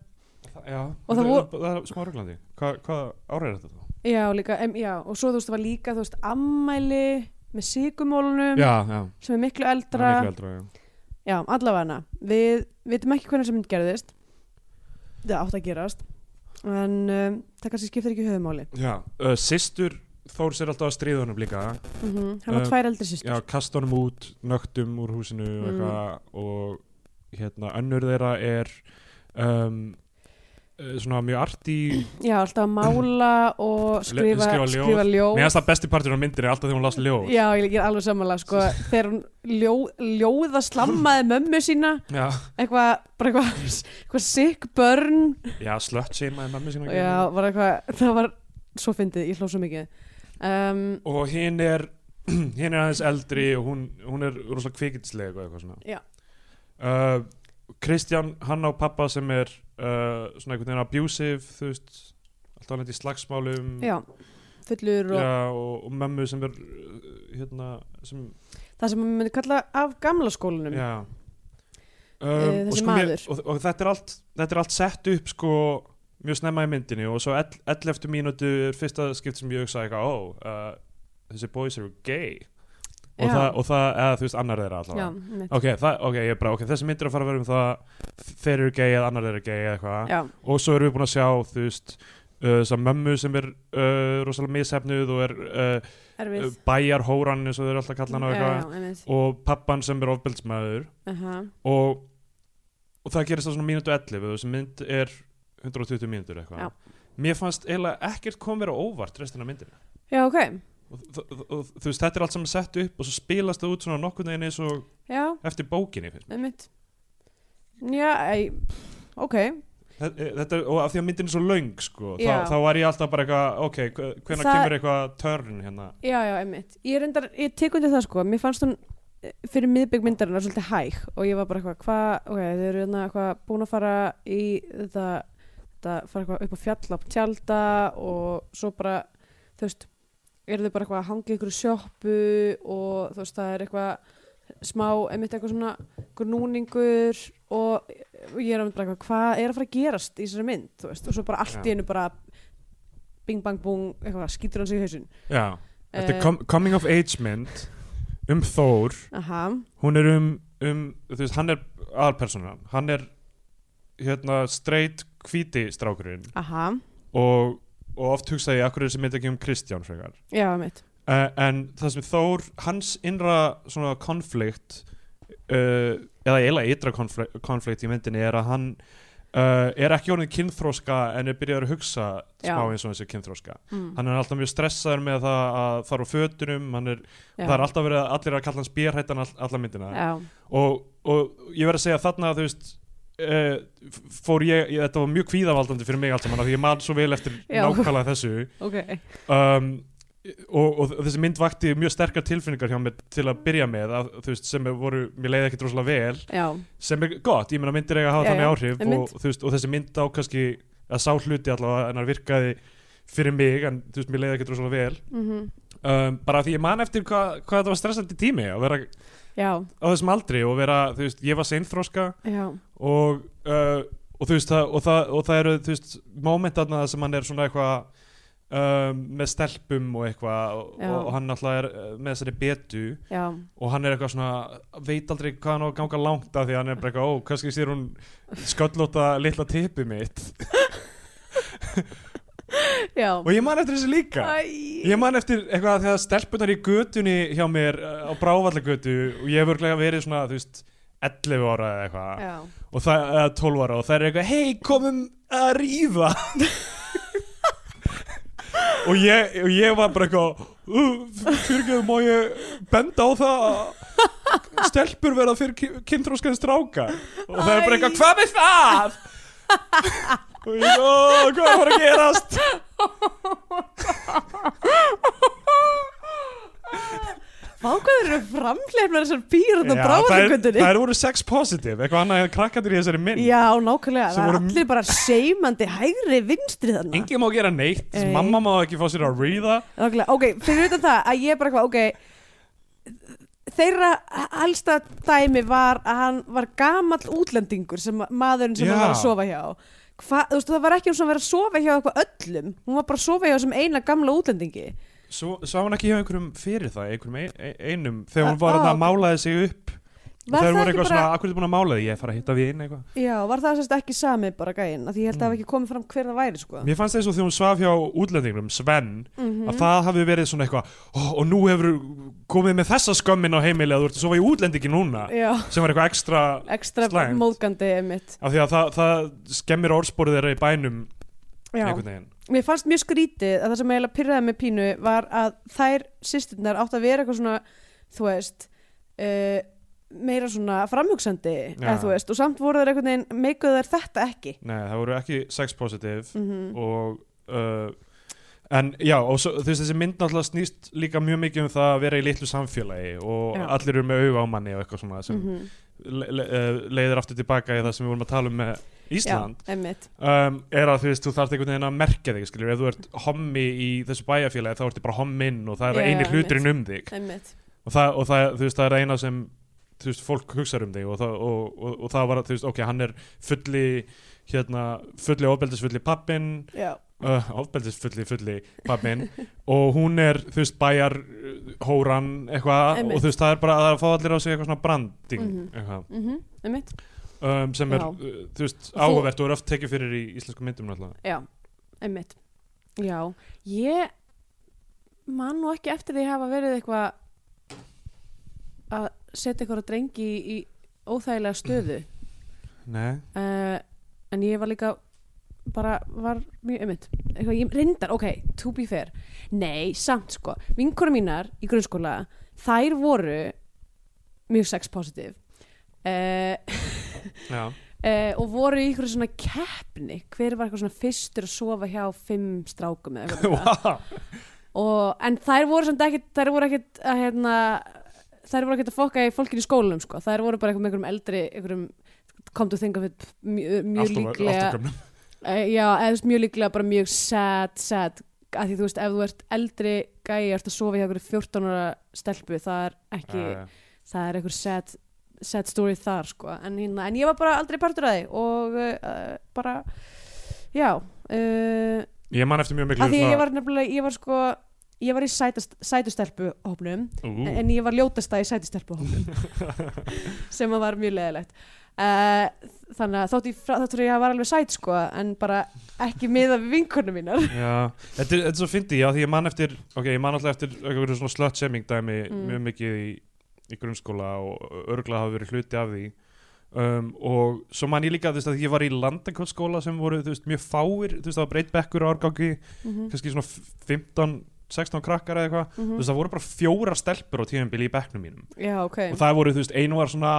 S2: það, já,
S3: Og það
S2: það,
S3: voru-
S2: það er smá röglandi Hva, hvað ára er þetta þá?
S3: Já, líka, em, já, og svo þú veist, það var líka, þú veist, ammæli með sigumólunum
S2: já, já,
S3: sem er miklu
S2: það
S3: eldra,
S2: er miklu eldra já.
S3: já, allavega hana við veitum ekki hvernig sem mynd gerðist það átt að gerast en um, það kannski skiptir ekki höfumáli
S2: já, uh, systur Þór sér alltaf að stríða honum líka
S3: mm -hmm. hann var
S2: Um,
S3: tvær eldri
S2: já,
S3: sýstur
S2: kasta honum út, nögtum úr húsinu
S3: Mm.
S2: og eitthvað og hérna, önnur þeirra er um, eh, svona mjög arti
S3: já, alltaf að mála og skrifa,
S2: skrifa ljóð.
S3: skrifa ljóð
S2: mér finnst það besti partur á myndinni alltaf þegar hún las ljóð
S3: já, ég ég er alveg samanlega, sko þegar hún ljó, ljóða slammaði mömmu sína
S2: já,
S3: eitthvað, bara eitthvað, eitthvað sick burn
S2: já slött seimaði mammi sína að gera
S3: Já, var eitthvað, það var svo fyndið, ég hló svo mikið um,
S2: og hinn er hinn er aðeins eldri og hún, hún er rosalega kvikindisleg og eitthvað svona
S3: Já.
S2: uh, Kristján, hann á pappa sem er uh, svona einhvern veginn abusive þú veist, alltaf hann í slagsmálum
S3: Já, fullur og
S2: Mm. Já, og, og mömmu sem er uh, hérna sem,
S3: það sem maður myndi kalla af gamla skólanum
S2: já Um,
S3: Eh,
S2: og, sko
S3: þessi
S2: mér,
S3: maður.
S2: og, og þetta er allt þetta er allt sett upp sko mjög snemma í myndinni og svo 11 mínútu er fyrsta skipt sem ég hugsaði eitthvað, ó, uh, þessi boys eru gay og,
S3: Já.
S2: það, og það, eða þú veist, annar þeirra
S3: Já,
S2: allavega
S3: einmitt.
S2: ok, það, ok, ég er bara, ok, þessi myndir að fara að vera um það þeir eru gay eða annar þeirra er gay eða eitthvað
S3: já,
S2: og svo erum við búin að sjá, þú veist uh, þess að mömmu sem er uh, rosalega mishefnuð og er uh,
S3: erfið
S2: bæjarhóran eins og þeir eru alltaf kallan á
S3: Já,
S2: eitthvað
S3: já, einmitt.
S2: og pappan sem er ofbeldsmaður
S3: Aha.
S2: og, og það gerist það svona mínútu 11 og þessi mynd er 120 mínútur eitthvað
S3: Já.
S2: mér fannst eiginlega ekkert kom vera óvart restina myndina
S3: já, ok,
S2: og, þ- þ- og, þú veist, þetta er allt saman sett upp og svo spilast það út svona nokkurn veginn eins og
S3: já,
S2: eftir bókinni finnst mér.
S3: einmitt já, ei, ok
S2: Þe- e, þetta, er- og af því að myndin er svo löng sko, þá,
S3: Já.
S2: þá var ég alltaf bara eitthvað ok, hvernig
S3: Það-
S2: kemur eitthvað törn hérna
S3: já, já, einmitt, ég reyndar, ég tek undir það sko, mér fannst hún eh, fyrir miðbygg myndarinnar svolítið hæg og ég var bara eitthvað, hvað, ok, þau eru hérna eitthvað búin að fara í þetta, þetta fara eitthvað upp á fjalla á tjálta og svo bara þú veist, eru þau bara eitthvað að hanga ykkur sjoppu og þú veist, það er eitthvað smá, einmitt eitthvað svona einhver núningur og ég er að bara eitthvað, hvað er að fara að gerast í þessari mynd, þú veist, og svo bara
S2: Já.
S3: allt í einu bara bing bang bung, eitthvað, skýtur hann sig í hausinn
S2: já, þetta
S3: Eh,
S2: er com coming of age mynd um Þór
S3: Aha,
S2: hún er um, um þú veist, hann er aðalpersonan, hann er hérna straight hvíti strákurinn
S3: aha,
S2: og, og oft hugsa ég akkur er þessi mynd ekki um Kristján frekar
S3: já, mitt
S2: uh, en það sem Þór, hans innra svona konflikt uh, eða eiginlega ytra konflikt, konflikt í myndinni er að hann uh, er ekki orðin kynþróska en er byrjaður að hugsa
S3: Já.
S2: smá eins og þessi kynþróska
S3: mm.
S2: hann er alltaf mjög stressaður með það að fara úr fötunum, hann er,
S3: Já.
S2: það er alltaf verið að allir að kalla hans bérhættan all, alla myndina
S3: Já,
S2: og, og ég verð að segja þarna þú veist Uh, fór ég, ég, þetta var mjög kvíðavaldandi fyrir mig allt saman af því ég man svo vel eftir
S3: Já.
S2: nákvæmlega þessu
S3: ok
S2: um, og, og þessi mynd vakti mjög sterkar tilfinningar hjá mér til að byrja með að, þú veist, sem voru, mér leiði ekki droslega vel
S3: Já,
S2: sem er gott, ég meina myndir eiga að hafa
S3: Já,
S2: þannig
S3: já,
S2: áhrif
S3: einmitt.
S2: og, þú veist, og þessi mynd á kannski að sá hluti allavega en hann virkaði fyrir mig en þú veist, mér leiði ekki droslega vel
S3: mm
S2: um, bara af því ég man eftir hvað, hvað þetta var stressandi tími að vera
S3: já,
S2: á þessum aldri og vera, þú veist, ég var seinþróska
S3: já,
S2: og, uh, og þú veist það, og, það, og það eru þú veist momentarna þar sem hann er svona eitthvað um, með stelpum og eitthvað og,
S3: Já.
S2: og hann alltaf er uh, með þessari betu
S3: já
S2: og hann er eitthvað svona veit aldrei hvað hann á að ganga langt af því að hann er bara eitthvað, ó, kannski sér hún sköllóta litla tippi mitt
S3: Já,
S2: og ég man eftir þessu líka
S3: Æ,
S2: Ég man eftir eitthvað að þegar stelpunar í götunni hjá mér uh, á Brávallagötu og ég hef örglega verið svona, þú veist 11 ára eða eitthvað
S3: já
S2: og það er 12 ára og það er eitthvað hei komum að rífa og, ég, og ég var bara eitthvað uh, fyrirgeðu má ég benda á það að stelpur verða fyrir kynþróskan stráka og það er bara eitthvað
S3: Æ.
S2: hvað með það og ég ó, hvað er að fara að gerast
S3: Vá hvað þeir eru framleifnar þessar býrun og
S2: Já, þær-
S3: bráðargöndunni
S2: þær voru sex positive eitthvað annað en krakkandir í þessari mynd
S3: Já, nákvæmlega,
S2: Sem
S3: það er
S2: voru-
S3: allir bara seimandi hægri vinstri þarna
S2: engin má gera neitt,
S3: Nei.
S2: mamma má ekki fá sér að ríða
S3: Nákvæmlega, ok, fyrir utan það að ég er bara eitthvað, ok Þeirra helsta dæmi var að hann var gamall útlendingur sem maðurinn sem
S2: Já.
S3: hann var að sofa hjá Hva, þú veist, það var ekki eins og hann var að sofa hjá eitthvað öllum hún var bara að sofa hjá þessum eina gamla útlendingi
S2: Svo, sá hann ekki hjá einhverjum fyrir það, einhverjum ein- ein- einum þegar hún
S3: Ah,
S2: var
S3: ah,
S2: þarna að
S3: ok.
S2: málaði sig upp og
S3: Var
S2: þeir
S3: það
S2: voru
S3: ekki
S2: eitthvað
S3: bara-
S2: svona, akkur er búin að mála þig, ég er að fara að hitta við einn eitthvað
S3: Já, var það sérst ekki sami bara gæinn af því ég held að það hafi
S2: Mm.
S3: ekki komið fram hver það væri sko.
S2: Mér fannst þess að þegar hún svaf hjá útlendingnum, Sven
S3: Mhm.
S2: að það hafi verið svona eitthvað oh, og nú hefur komið með þessa skömmin á heimili að þú ert að sofa í útlendingi núna
S3: Já,
S2: sem var eitthvað ekstra,
S3: ekstra
S2: Slæmt.
S3: móðgandi emitt
S2: af því að það, það skemmir orðsporið þeirra í bænum
S3: Já,
S2: einhvern veginn
S3: mér fannst mjög skrítið að það sem eiginlega pyrraði með pínu var að þær sýsturnar átt að vera eitthvað svona þú veist uh, meira svona framhugsandi
S2: Já.
S3: eða, þú veist, og samt voru þær einhvern veginn meikuðu þær þetta ekki
S2: Nei, það voru ekki sex positive
S3: mm
S2: og uh, en já, og svo, þú veist þessi mynd náttúrulega snýst líka mjög mikið um það að vera í litlu samfélagi og
S3: Já.
S2: allir eru með auga á manni og eitthvað svona sem mm
S3: -hmm.
S2: le le eh, leiðir aftur tilbaka í það sem við vorum að tala um með Ísland
S3: Já, emitt
S2: um, er að þú veist, þú þarft einhvern veginn að merkja þig skilur, ef þú ert hommi í þessu bæjarfélagi þá ertu bara homminn og það er
S3: Já,
S2: eini
S3: já,
S2: hluturinn um þig og, það, og það, þú veist, það er eina sem þú veist, fólk hugsar um þig og það, og, og, og það var, að, þú veist, ok, hann er fulli hérna, fulli ofbeldisfulli pappin
S3: Já,
S2: uh, ofbeldisfulli fulli pappin og hún er þú veist bæjar uh, hóran eitthvað
S3: Einmitt.
S2: og þú veist það er bara að það er að fá allir á sig eitthvað svona branding
S3: Mhm.
S2: eitthvað,
S3: mm emitt
S2: um, sem er
S3: Já.
S2: uh, þú veist
S3: Þú-
S2: áhugavert og er oft tekið fyrir í íslensku myndum náttúrulega
S3: Já, einmitt Já, ég man nú ekki eftir því að hafa verið eitthvað að setja eitthvað drengi í óþægilega stöðu
S2: Nei,
S3: Eh, uh, en ég var líka bara var mjög ummitt eitthvað, ég reyndar, ok, to be fair nei, samt sko, vinkonum mínar í grunnskóla, þær voru mjög sex positive uh,
S2: já,
S3: uh, og voru í eitthvað svona keppni hver var eitthvað svona fyrstur að sofa hjá fimm strákum eða eitthvað svona.
S2: wow.
S3: og, en þær voru samt ekkit þær voru ekkit að hérna þær voru ekkit að fokka í fólkinu í skólanum sko. þær voru bara eitthvað með einhverjum eldri einhverjum kom til að þinga fyrir mjög, mjög
S2: alltaf,
S3: líklega
S2: alltaf gömnum
S3: Eh, Já, eða þú veist, mjög líklega bara mjög sad, sad að því þú veist, ef þú ert eldri gæi ert að sofa hjá einhverju 14 ára stelpu það er ekki,
S2: Ah.
S3: það er einhver sad, sad story þar sko en, hérna, en ég var bara aldrei partur að því og uh, bara já, uh,
S2: ég man eftir mjög miklu
S3: að því ég var nefnilega ég var sko, ég var í sætast, sætustelpu hópnum
S2: Ú,
S3: en ég var ljótasta í sætistelpu sem að var mjög leðilegt uh, þannig að þótt ég, þótt ég var alveg sæt sko en bara ekki miða við vinkunum mínar
S2: Já, þetta er, þetta er svo fyndi, já, því ég man eftir ok, ég man alltaf eftir eitthvað svona slutshaming dæmi
S3: Mm.
S2: mjög mikið í, í grunnskóla og örgla hafa verið hluti af því um, og svo man ég líka þú veist að ég var í landakottskóla sem voru þú veist, mjög fáir, þú veist, það var breytbekkur á árgangi,
S3: Mm.
S2: kannski svona f- 15 16 krakkar eða eitthvað, þú veist, það voru bara fjóra stelpur á tíðanbili í bekknum mínum
S3: Mhm. já ok
S2: og það voru, þú veist, einu var svona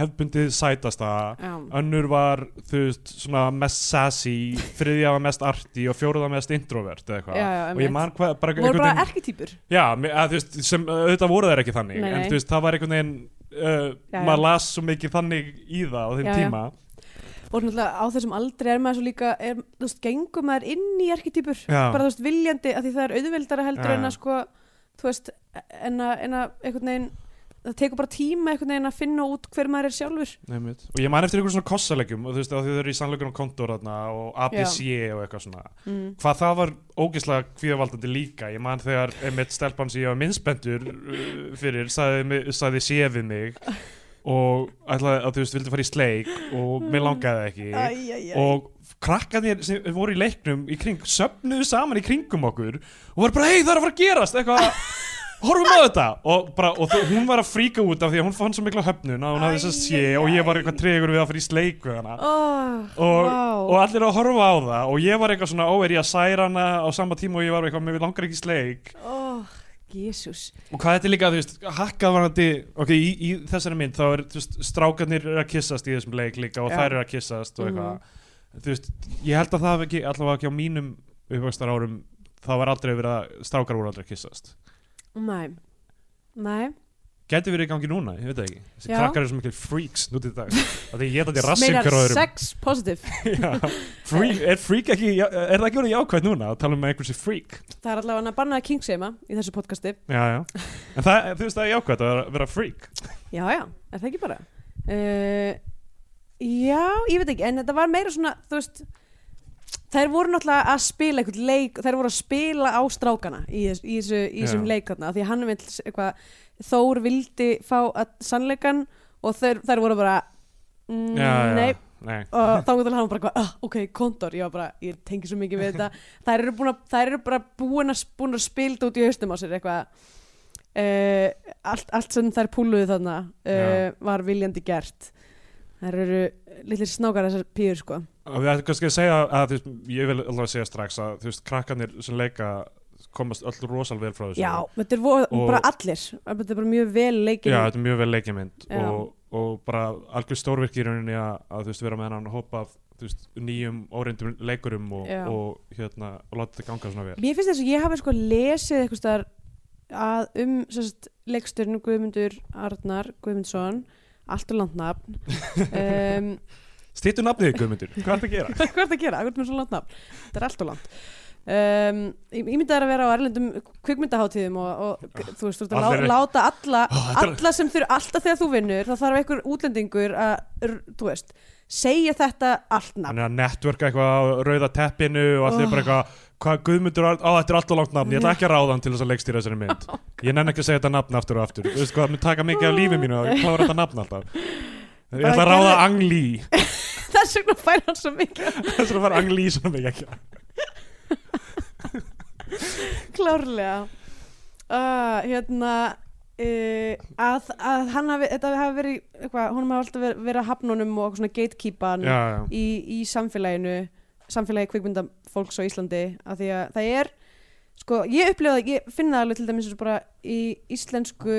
S2: hefbundið sætasta
S3: já.
S2: önnur var, þú veist, svona mest sassy, þriðja var mest arty og fjóruða mest introvert eða eitthvað
S3: Já, já,
S2: Ah, og ég
S3: einmitt.
S2: man hvað, bara
S3: voru bara
S2: veginn-
S3: erketýpur
S2: já, me- að, þú veist, sem auðvitað voru þær ekki þannig
S3: Nei,
S2: en
S3: nei.
S2: þú veist, það var einhvern veginn uh,
S3: Já, já.
S2: maður las svo mikið þannig í það á þeim
S3: Já, já.
S2: tíma
S3: og náttúrulega á þessum aldri er maður svo líka er, þú veist, gengur maður inn í erketýpur
S2: Já.
S3: bara þú veist, viljandi, af því það er auðveldara heldur
S2: Já,
S3: en
S2: já.
S3: að sko, þú veist en að, en að einhvern veginn það tekur bara tíma einhvern veginn að finna út hver maður er sjálfur
S2: Nefnt. og ég man eftir einhverjum svona kossalegjum og þú veist, af því þau eru í sannleikunum kontor þarna og ABC E og eitthvað svona
S3: mm.
S2: hvað það var ógeðslega kvíðavaldandi líka ég man þegar einmitt stelpan sem ég var minnspendur fyrir sagði, mig- sagði sé við mig og ætlaði að þú veist vildi fara í sleik og mér langaði ekki og krakkarnir sem voru í leiknum í kring, söfnuðu saman í kringum okkur og voru bara hei það er að fara að gerast eitthvað horfum á þetta og, bara, og þau, hún var að fríka út af því að hún fann svo mikla höfnun að hún hafði þess að sé og ég var eitthvað tregur við að fara í sleik við hana
S3: oh,
S2: og,
S3: wow.
S2: og allir að horfa á það og ég var eitthvað svona ó, er ég að særa hana á sama tíma og ég var eitthvað, mér langar ekki í sleik
S3: Oh, Jésús
S2: og hvað þetta er líka, þú veist, hakkað varandi ok, í, í þessari mynd þá er þú veist, strákarnir eru að kyssast í þessum leik líka og
S3: Já.
S2: þær eru að kyssast og eitthvað þú veist, ég held að það hafi ekki allavega ekki á mínum uppvöxtar árum það var aldrei verið að strákar voru aldrei að kyssast
S3: Nei, nei
S2: Gæti verið í gangi núna, ég veit það ekki Þessi
S3: Já.
S2: krakkar eru svo mikil freaks nú til dag Það er ég þetta í rassum
S3: Meinar
S2: hver á öðrum
S3: sex positive
S2: Já. freak, er, freak ekki, já- er það ekki verið jákvæð núna að tala um að einhver sé freak
S3: Það er allavega að bannaða kingsema í þessu podcasti
S2: já, já. en það, þú veist það er jákvæð að vera freak
S3: Já, já, er það ekki bara uh, Já, ég veit ekki En þetta var meira svona, þú veist Þær voru náttúrulega að spila einhvern leik Þær voru að spila á strákana Í, þess, í, þessu, í þessum
S2: Já.
S3: leik þarna af Því að hann vill s- eitthvað Þór vildi fá að, sannleikan Og þær, þær voru bara mm,
S2: já, já,
S3: Nei,
S2: nei.
S3: og þá var hann bara eitthvað, ah, ok, kontor ég var bara, ég tengi svo mikið við þetta þær eru, búin að, þær eru bara búin að, búin að spilda út í haustum á sér eitthvað uh, allt, allt sem þær púluðu þarna uh, var viljandi gert þær eru lillir snákar þessar pýr sko
S2: og við ætlum kannski að segja að, þú veist, ég vil allavega segja strax að þú veist, krakkanir sem leika komast öll rosal vel frá þessu
S3: já, þetta er voð,
S2: Og-
S3: bara allir þetta er bara mjög vel leikin
S2: Já, þetta er mjög vel leikjamynd
S3: Já.
S2: og, og bara algjör stórvirk í rauninni að, að þú veist vera með hennan hópa af, þú veist, nýjum óreindum leikurum og,
S3: Já.
S2: og hérna, og láta þetta ganga svona vel
S3: mér finnst þess að ég hafi sko lesið eitthvað staðar að um sérst, leiksturinn Guðmundur Arnar Guðmundsson allt og landnafn um,
S2: Stýttu nafnið þig, Guðmundur, hvað ertu að gera?
S3: hvað er það að gera? Hvað er það svo langt nafn? Þetta er allt og langt um, Ég ég myndi að vera að vera á erlendum kvikmyndaháttíðum og, og þú veist, þú ert að
S2: Allir-
S3: lá, láta alla,
S2: Ó, þetta er-
S3: alla sem þurr, alltaf þegar þú vinnur þá þarf einhver útlendingur að, r- þú veist, segja þetta allt nafn
S2: hann er að networka eitthvað á rauða teppinu og allir
S3: Oh.
S2: bara eitthvað hvað Guðmundur Arn, á þetta er alltaf langt nafn, ég ætla ekki að ráða hann til þess að leikstýra þessari mynd
S3: Oh
S2: ég nenn ekki að segja þetta nafn aftur og aftur þú veist hvað, það mun taka mikið af lífi mínu að klára þetta nafn alltaf ég
S3: Bara
S2: ætla að ráða
S3: gerðu-
S2: Ang Lee
S3: þess vegna fær hann svo mikið
S2: þess að fara Ang Lee svona mikið ekki
S3: klárlega uh, hérna Uh, að, að hann hafi, þetta hafi verið eitthvað, hún hafi alltaf verið, verið að hafnunum og eitthvað svona gatekeepan
S2: já, já,
S3: í, í samfélaginu samfélagi kvikmynda fólks á Íslandi af því að það er sko, ég upplifa það, ég finna það alveg til dæmis eins og bara í íslensku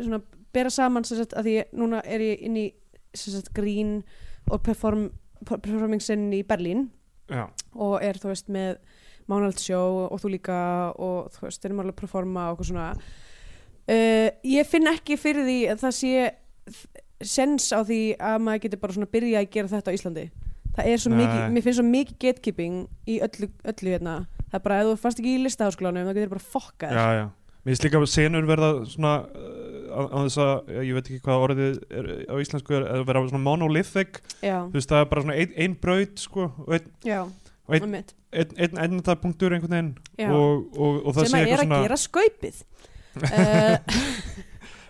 S3: svona bera saman sem sagt að því ég, núna er ég inn í sem sagt grín og perform, performing sinn í Berlín
S2: já,
S3: og er þú veist með Mánald Sjó og þú líka og þú veist, erum alveg að performa og okkur svona uh, ég finn ekki fyrir því að það sé sens á því að maður getur bara svona byrja að gera þetta á Íslandi það er svo
S2: Nei.
S3: mikið, mér finnst svo mikið gatekeeping í öllu, öllu hérna það er bara, ef þú fast ekki í listaháskólanum þá getur bara fokkað
S2: já, já. Mér finnst líka að senur verða svona uh, á, á þess að, ég veit ekki hvað orðið er á íslensku, er, að vera svona monolithic
S3: já,
S2: þú veist, það er bara svona ein, ein braut sko, og einn
S3: já,
S2: og einn-
S3: einmitt.
S2: ein, ein, ein, punktur einhvern veginn
S3: Já.
S2: og, og, og það sé
S3: sem að er
S2: eitthvað
S3: að
S2: svona
S3: gera skaupið uh,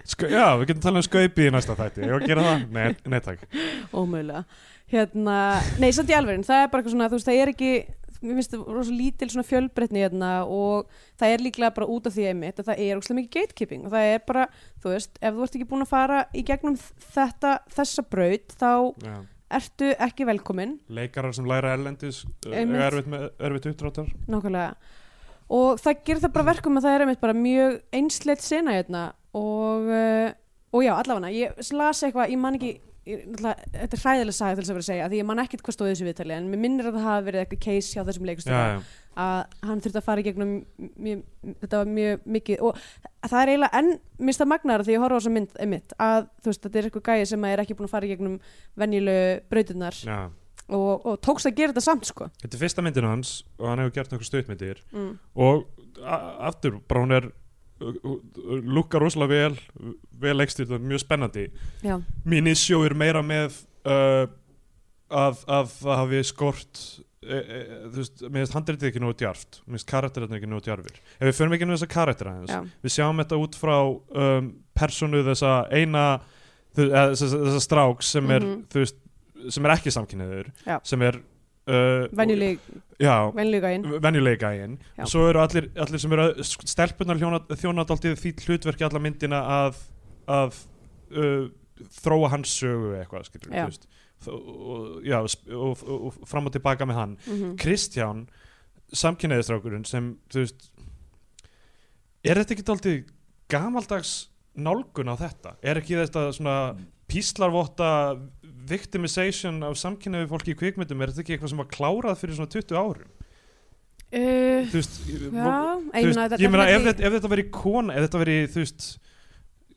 S2: sk- Já, við getum talað um skaupi í næsta þætti, ég var að gera það Nei, nei takk
S3: ómögulega hérna, nei, samt í alvegin, það er bara eitthvað svona þú veist, það er ekki, mér finnst það rosa lítil svona fjölbreytni hérna og það er líklega bara út af því einmitt að það er óslega mikið gatekeeping og það er bara, þú veist ef þú ert ekki búin að fara í gegnum þetta, þessa braut, þá
S2: já.
S3: ertu ekki velkominn
S2: Leikarar sem læra erlendis uh,
S3: Einmitt.
S2: eiga erfitt, með, erfitt uppdráttar
S3: nákvæmlega og það gerir það bara verkum að það er einmitt bara mjög einsleitt sena hérna og, uh, og já, allavega ég las eitthvað, ég man ekki ég, náttúrulega- þetta er hræðilega saga til þess að vera að segja því ég man ekkit hvað stóði þessu viðtali en mér minnir að það hafi verið eitthvað case hjá þessum leikustöra
S2: Já, já,
S3: að hann þurfti að fara í gegnum mjög, þetta var mjög mikið og það er eiginlega enn mista magnar því ég horfa á þessa mynd einmitt að þú veist þetta er eitthvað gæði sem er ekki búin að fara í gegnum venjulegu brautirnar
S2: já
S3: og, og tókst að gera þetta samt sko
S2: Þetta er fyrsta myndin hans og hann hefur gert nokkur stuttmyndir
S3: mm.
S2: og a- aftur, bara hún er uh, lukkar rosalega vel vel leikstýrt og mjög spennandi
S3: já,
S2: Minissjó er meira með uh, að, að það hafi skort e, e, þú veist, mér finnst handritið ekki nógu djarft mér finnst karakterarnir ekki nógu djarfir ef við förum ekki nú þessa karakter aðeins
S3: já,
S2: við sjáum þetta út frá um, personu þessa eina þú- eða þessa, þessa strák sem er
S3: Mhm.
S2: þú veist, sem er ekki samkynniður
S3: Já.
S2: sem er uh,
S3: venjuleg
S2: já,
S3: venjulega einn
S2: venjuleg gæinn
S3: Já.
S2: og svo eru allir, allir sem eru stelpunar þjónadaldið því hlutverki alla myndina að, að uh, þróa hans sögu eitthvað skilur,
S3: Já.
S2: veist, Þó- og, já, sp- og, og, og fram og tilbaka með hann
S3: mm -hmm.
S2: Kristján, samkynniðistrákurinn sem, þú veist er þetta ekki aldrei gamaldags nálgun á þetta? Er ekki þetta svona píslarvotta victimization af samkynniðu fólki í kvikmyndum, er þetta ekki eitthvað sem var klárað fyrir svona 20 árum?
S3: uh,
S2: Þú veist, Þú
S3: já, ég
S2: veist,
S3: meina þetta-
S2: ég meina
S3: þetta
S2: ef,
S3: er
S2: þetta, ef þetta veri kona ef þetta veri, þú veist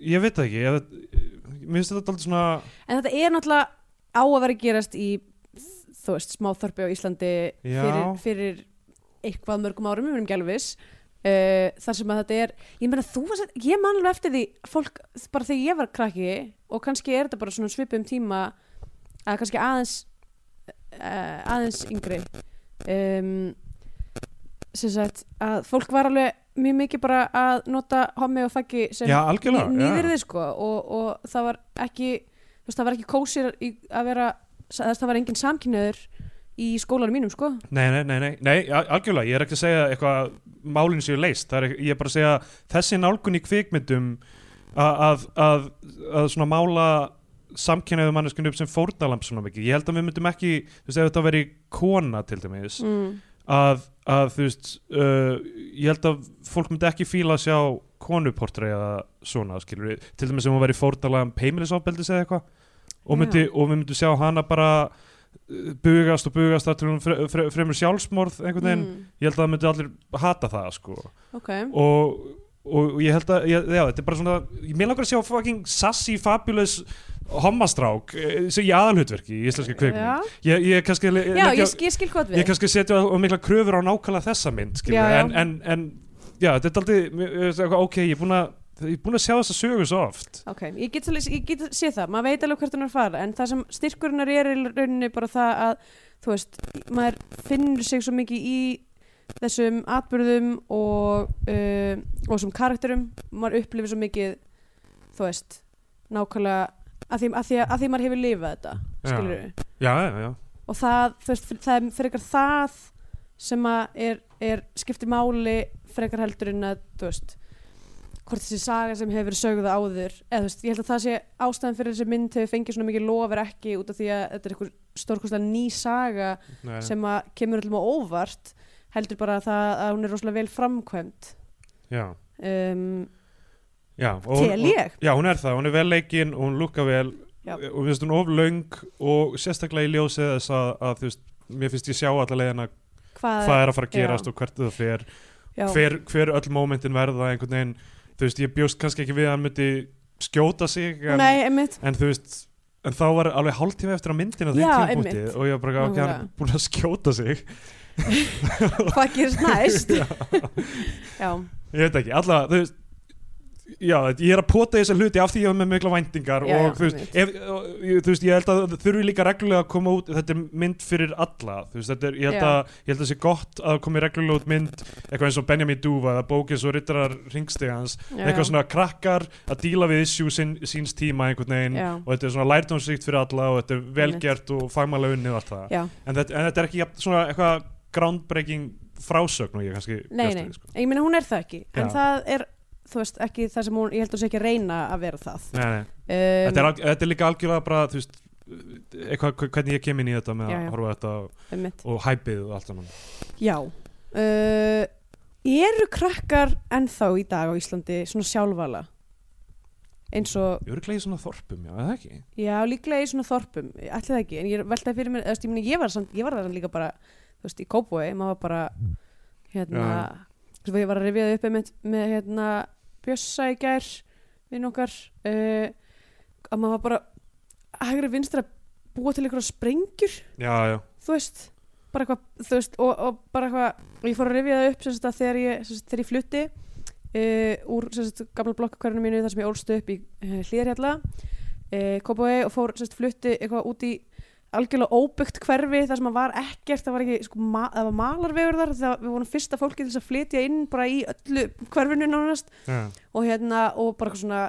S2: ég veit það ekki ef, þetta- mér finnst þetta alltaf svona
S3: en þetta er náttúrulega á að vera að gerast í þú veist, smáþorpi á Íslandi
S2: Já.
S3: fyrir, fyrir eitthvað mörgum árum, við verum gelvis uh, þar sem að þetta er ég meina þú, varst- ég man alveg eftir því fólk, bara þegar ég var krakki og kannski er þetta bara svona svipum tíma að kannski aðeins uh, aðeins yngri um, sem sagt að fólk var alveg mjög mikið bara að nota hommi og faggi sem
S2: já, algjörlega já.
S3: nýðir þið sko og, og það var ekki þú veist það var ekki kósir í, að vera það, það var engin samkynniður í skólanum mínum sko
S2: nei, nei, nei, nei, nei, al- algjörlega ég er ekki að segja eitthvað að málin séu leist það er, ekki- ég er bara að segja að þessi nálgun í kvikmyndum að, að, að, að svona mála samkynnaðu manneskinu upp sem fórnalamb svona mikið, ég held að við myndum ekki þú veist, ef þetta veri kona til dæmis
S3: mm.
S2: að, að þú veist uh, ég held að fólk myndi ekki fíla að sjá konuportræða svona skilur við, til dæmis sem hún væri fórtala um heimilisofbeldis eða eitthvað og, myndi,
S3: Já.
S2: og við myndum sjá hana bara uh, bugast og bugast þar til hún fre, fre, fremur sjálfsmorð einhvern
S3: Mm.
S2: veginn, ég held að það myndi allir hata það sko
S3: ok
S2: og, og ég held að ég, já, þetta er bara svona, ég mér langar að sjá fucking sassy fabulous hommastrák eh, sem í aðalhutverki í íslenska kveikmynd
S3: já,
S2: ég, ég er kannski le-
S3: já
S2: leggja-
S3: ég, skil- ég skil hvað
S2: ég
S3: við
S2: kannski setja á mikla kröfur á nákvæmlega þessa mynd já,
S3: Já, já.
S2: En, en, en já, þetta er aldrei mér- ég veist eitthvað, ok, ég er búin að ég er búin að sjá þessa sögu svo oft
S3: ok, ég get, svolítið- ég get sé það maður veit alveg hvert hann er að fara en það sem styrkurinnar er í rauninni bara það að þú veist, maður finnur sig svo mikið í þessum atbyrðum og uh, og þessum karakterum, maður upplifir svo mikið þú veist nákvæmlega, að því að, því að, að því maður hefur lifað þetta,
S2: Já.
S3: skilur við
S2: já, já, já,
S3: og það, þú veist, fyr- það er frekar það sem að er, er skiptir máli frekar heldur en að, þú veist hvort þessi saga sem hefur verið sögð áður eða þú veist, ég held að það sé ástæðan fyrir þessi mynd hefur fengið svona mikið lofur ekki út af því að þetta er eitthvað stórkostlega ný saga
S2: Nei.
S3: sem að kemur öllum á óvart heldur bara það að hún er rosalega vel framkvæmt
S2: Já,
S3: um,
S2: já og,
S3: Tel ég.
S2: og- Já, hún er það, hún er vel leikinn og hún lúka vel
S3: Já.
S2: og við veistum of löng og sérstaklega í ljósið þess að, að þú veist, mér finnst ég sjá allalega en að
S3: hvað,
S2: hvað er að fara að
S3: já.
S2: gerast og hvert það fer
S3: já,
S2: hver, hver öll mómentin verða einhvern veginn, þú veist, ég bjóst kannski ekki við að hann myndi skjóta sig en,
S3: nei, einmitt
S2: en þú veist, en þá var alveg hálftíma eftir að myndin á þeim
S3: Já,
S2: tímpúti
S3: einmitt.
S2: og ég var bara ekki hann er
S3: Nákvæmlega.
S2: búin að skjóta sig
S3: hvað gerist næst
S2: Já.
S3: já,
S2: ég veit ekki, alla, þú veist Já, ég er að pota þessa hluti af því ég hef með mikla væntingar
S3: Já,
S2: og
S3: já,
S2: þú veist, ef, og, ég- þú veist, ég held að það þurfi líka reglulega að koma út, þetta er mynd fyrir alla, þú veist, þetta er, ég held
S3: Já.
S2: að, ég held að það sé gott að það komi reglulega út mynd, eitthvað eins og Benjamin Dúfa, eða bókið svo rittarar ringstegans,
S3: já,
S2: eitthvað svona krakkar að díla við issue sin, síns tíma einhvern veginn
S3: Já.
S2: og þetta er svona lærdómsrikt fyrir alla og þetta er
S3: Einmitt.
S2: velgert og fagmælega unnið og allt það
S3: já
S2: en þetta, en þetta er ekki jafn- svona eitthvað groundbreaking frásögn og ég kannski
S3: Nei,
S2: bjóst
S3: nei,
S2: við, sko.
S3: ég meina hún er það ekki en
S2: Já.
S3: það er, þú veist, ekki það sem hún ég held að hún sé ekki að reyna að vera það um,
S2: Nei, nei. Þetta, er, alg- þetta er líka algjörlega bara þú veist, eitthvað, hvernig ég kem inn í þetta með
S3: Já,
S2: að
S3: já.
S2: horfa á þetta og,
S3: einmitt.
S2: og hæpið og allt saman
S3: Já uh, Eru krakkar ennþá í dag á Íslandi svona sjálfvala eins og,
S2: Ég voru gleðið svona þorpum, já, eða ekki?
S3: já, líklega í svona þorpum ætli það ekki, en ég veltaði fyrir mér eða, þú veist, ég, meina, ég, var samt, ég var það líka bara þú veist, í Kópói, maður var bara hérna, þú veist, ég var að rifjaði upp með, með hérna, Bjössa í gær vinn okkar uh, að maður var bara hægri vinstra búa til einhverja sprengjur
S2: Já, já,
S3: þú veist bara eitthvað þú veist og, og bara eitthvað og ég fór að rifja það upp sem sagt að þegar ég sem sagt, þegar ég flutti uh, úr sem sagt gamla blokkakverðinu mínu þar sem ég ólst upp í uh, hlýðarhjalla uh, Kópavegi og fór sem sagt flutti eitthvað út í algjörlega óbyggt hverfi þar sem að var ekkert það var ekki sko ma það var malarvegur þar það við vorum fyrsta fólki til þess að flytja inn bara í öllu hverfinu nánast
S2: já,
S3: og hérna og bara eitthvað svona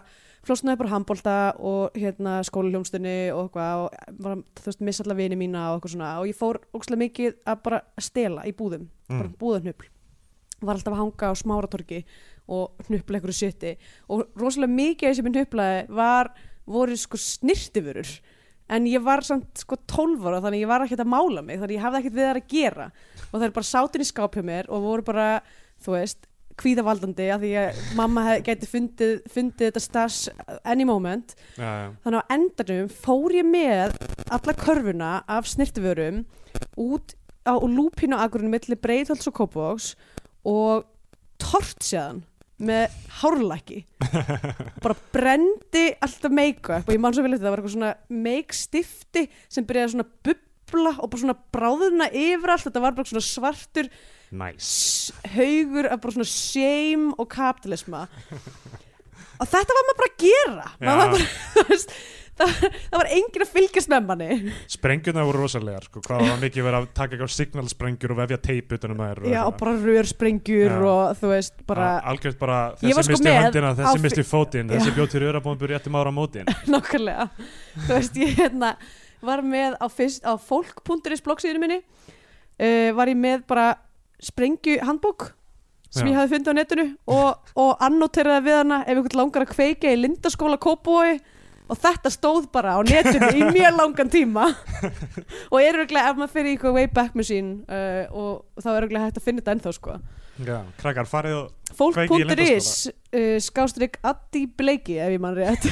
S3: flósnaði bara handbólta og hérna skólaljómstunni og eitthvað og var, að, þú veist, missa alla vini mína og eitthvað svona og ég fór ógstlega mikið að bara stela í búðum, bara
S2: mm.
S3: búðarhnupl var alltaf að hanga á smáratorki og hnupla einhverju sjötti og rosalega mikið af þessi minn hnuplaði var, voru sko snirtifurur en ég var samt sko 12 ára þannig ég var ekkert að mála mig þannig ég hafði ekkert við þar að gera og það er bara sátin í skáp hjá mér og voru bara, þú veist kvíðavaldandi að því að mamma hef, gæti fundið, fundið þetta stas any moment
S2: já, já.
S3: þannig á endanum fór ég með alla körfuna af snirtivörum út á lúpínu agrunum milli Breiðholts og Kópavóks og tort séðan með hárlæki bara brendi alltaf make-up og ég man svo vel eftir það var eitthvað svona make-stifti sem byrjaði svona að bubla og bara svona bráðuna yfir allt þetta var bara svona svartur
S2: Nice
S3: s- haugur af bara svona shame og kapitalisma og þetta var maður bara að gera maður var bara, þú veist, það, það var engin að fylgjast með manni
S2: Sprengjurna voru rosalegar, sko, hvað var mikið verið að taka eitthvað signalsprengjur og vefja teip utanum þær
S3: já, og bara rörsprengjur
S2: Já.
S3: og þú veist, bara
S2: Al- algjört bara
S3: Ég
S2: þessi
S3: var sko
S2: misti
S3: með
S2: höndina,
S3: á
S2: þessi
S3: fi-
S2: misti fótinn
S3: Já.
S2: þessi bjóð til öðrabómbur réttum ára mótin
S3: nákvæmlega þú veist, ég hérna var með á, fyrst, á fólk.is bloggsíðinu minni uh, var ég með bara sprengju handbók sem
S2: Já.
S3: ég hafði fundið á netinu og, og annoteraði við hana ef einhvern langar að kveika í lindaskóla kópói og þetta stóð bara á netinu í mjög langan tíma og er örgulega ef maður fyrir í eitthvað Wayback Machine uh, og þá er örgulega hægt að finna þetta ennþá sko
S2: Já, krakkar farið og Kveikið í
S3: fólk.is
S2: Lindaskóla.
S3: uh, skástrík Addi Bleiki ef ég mann rétt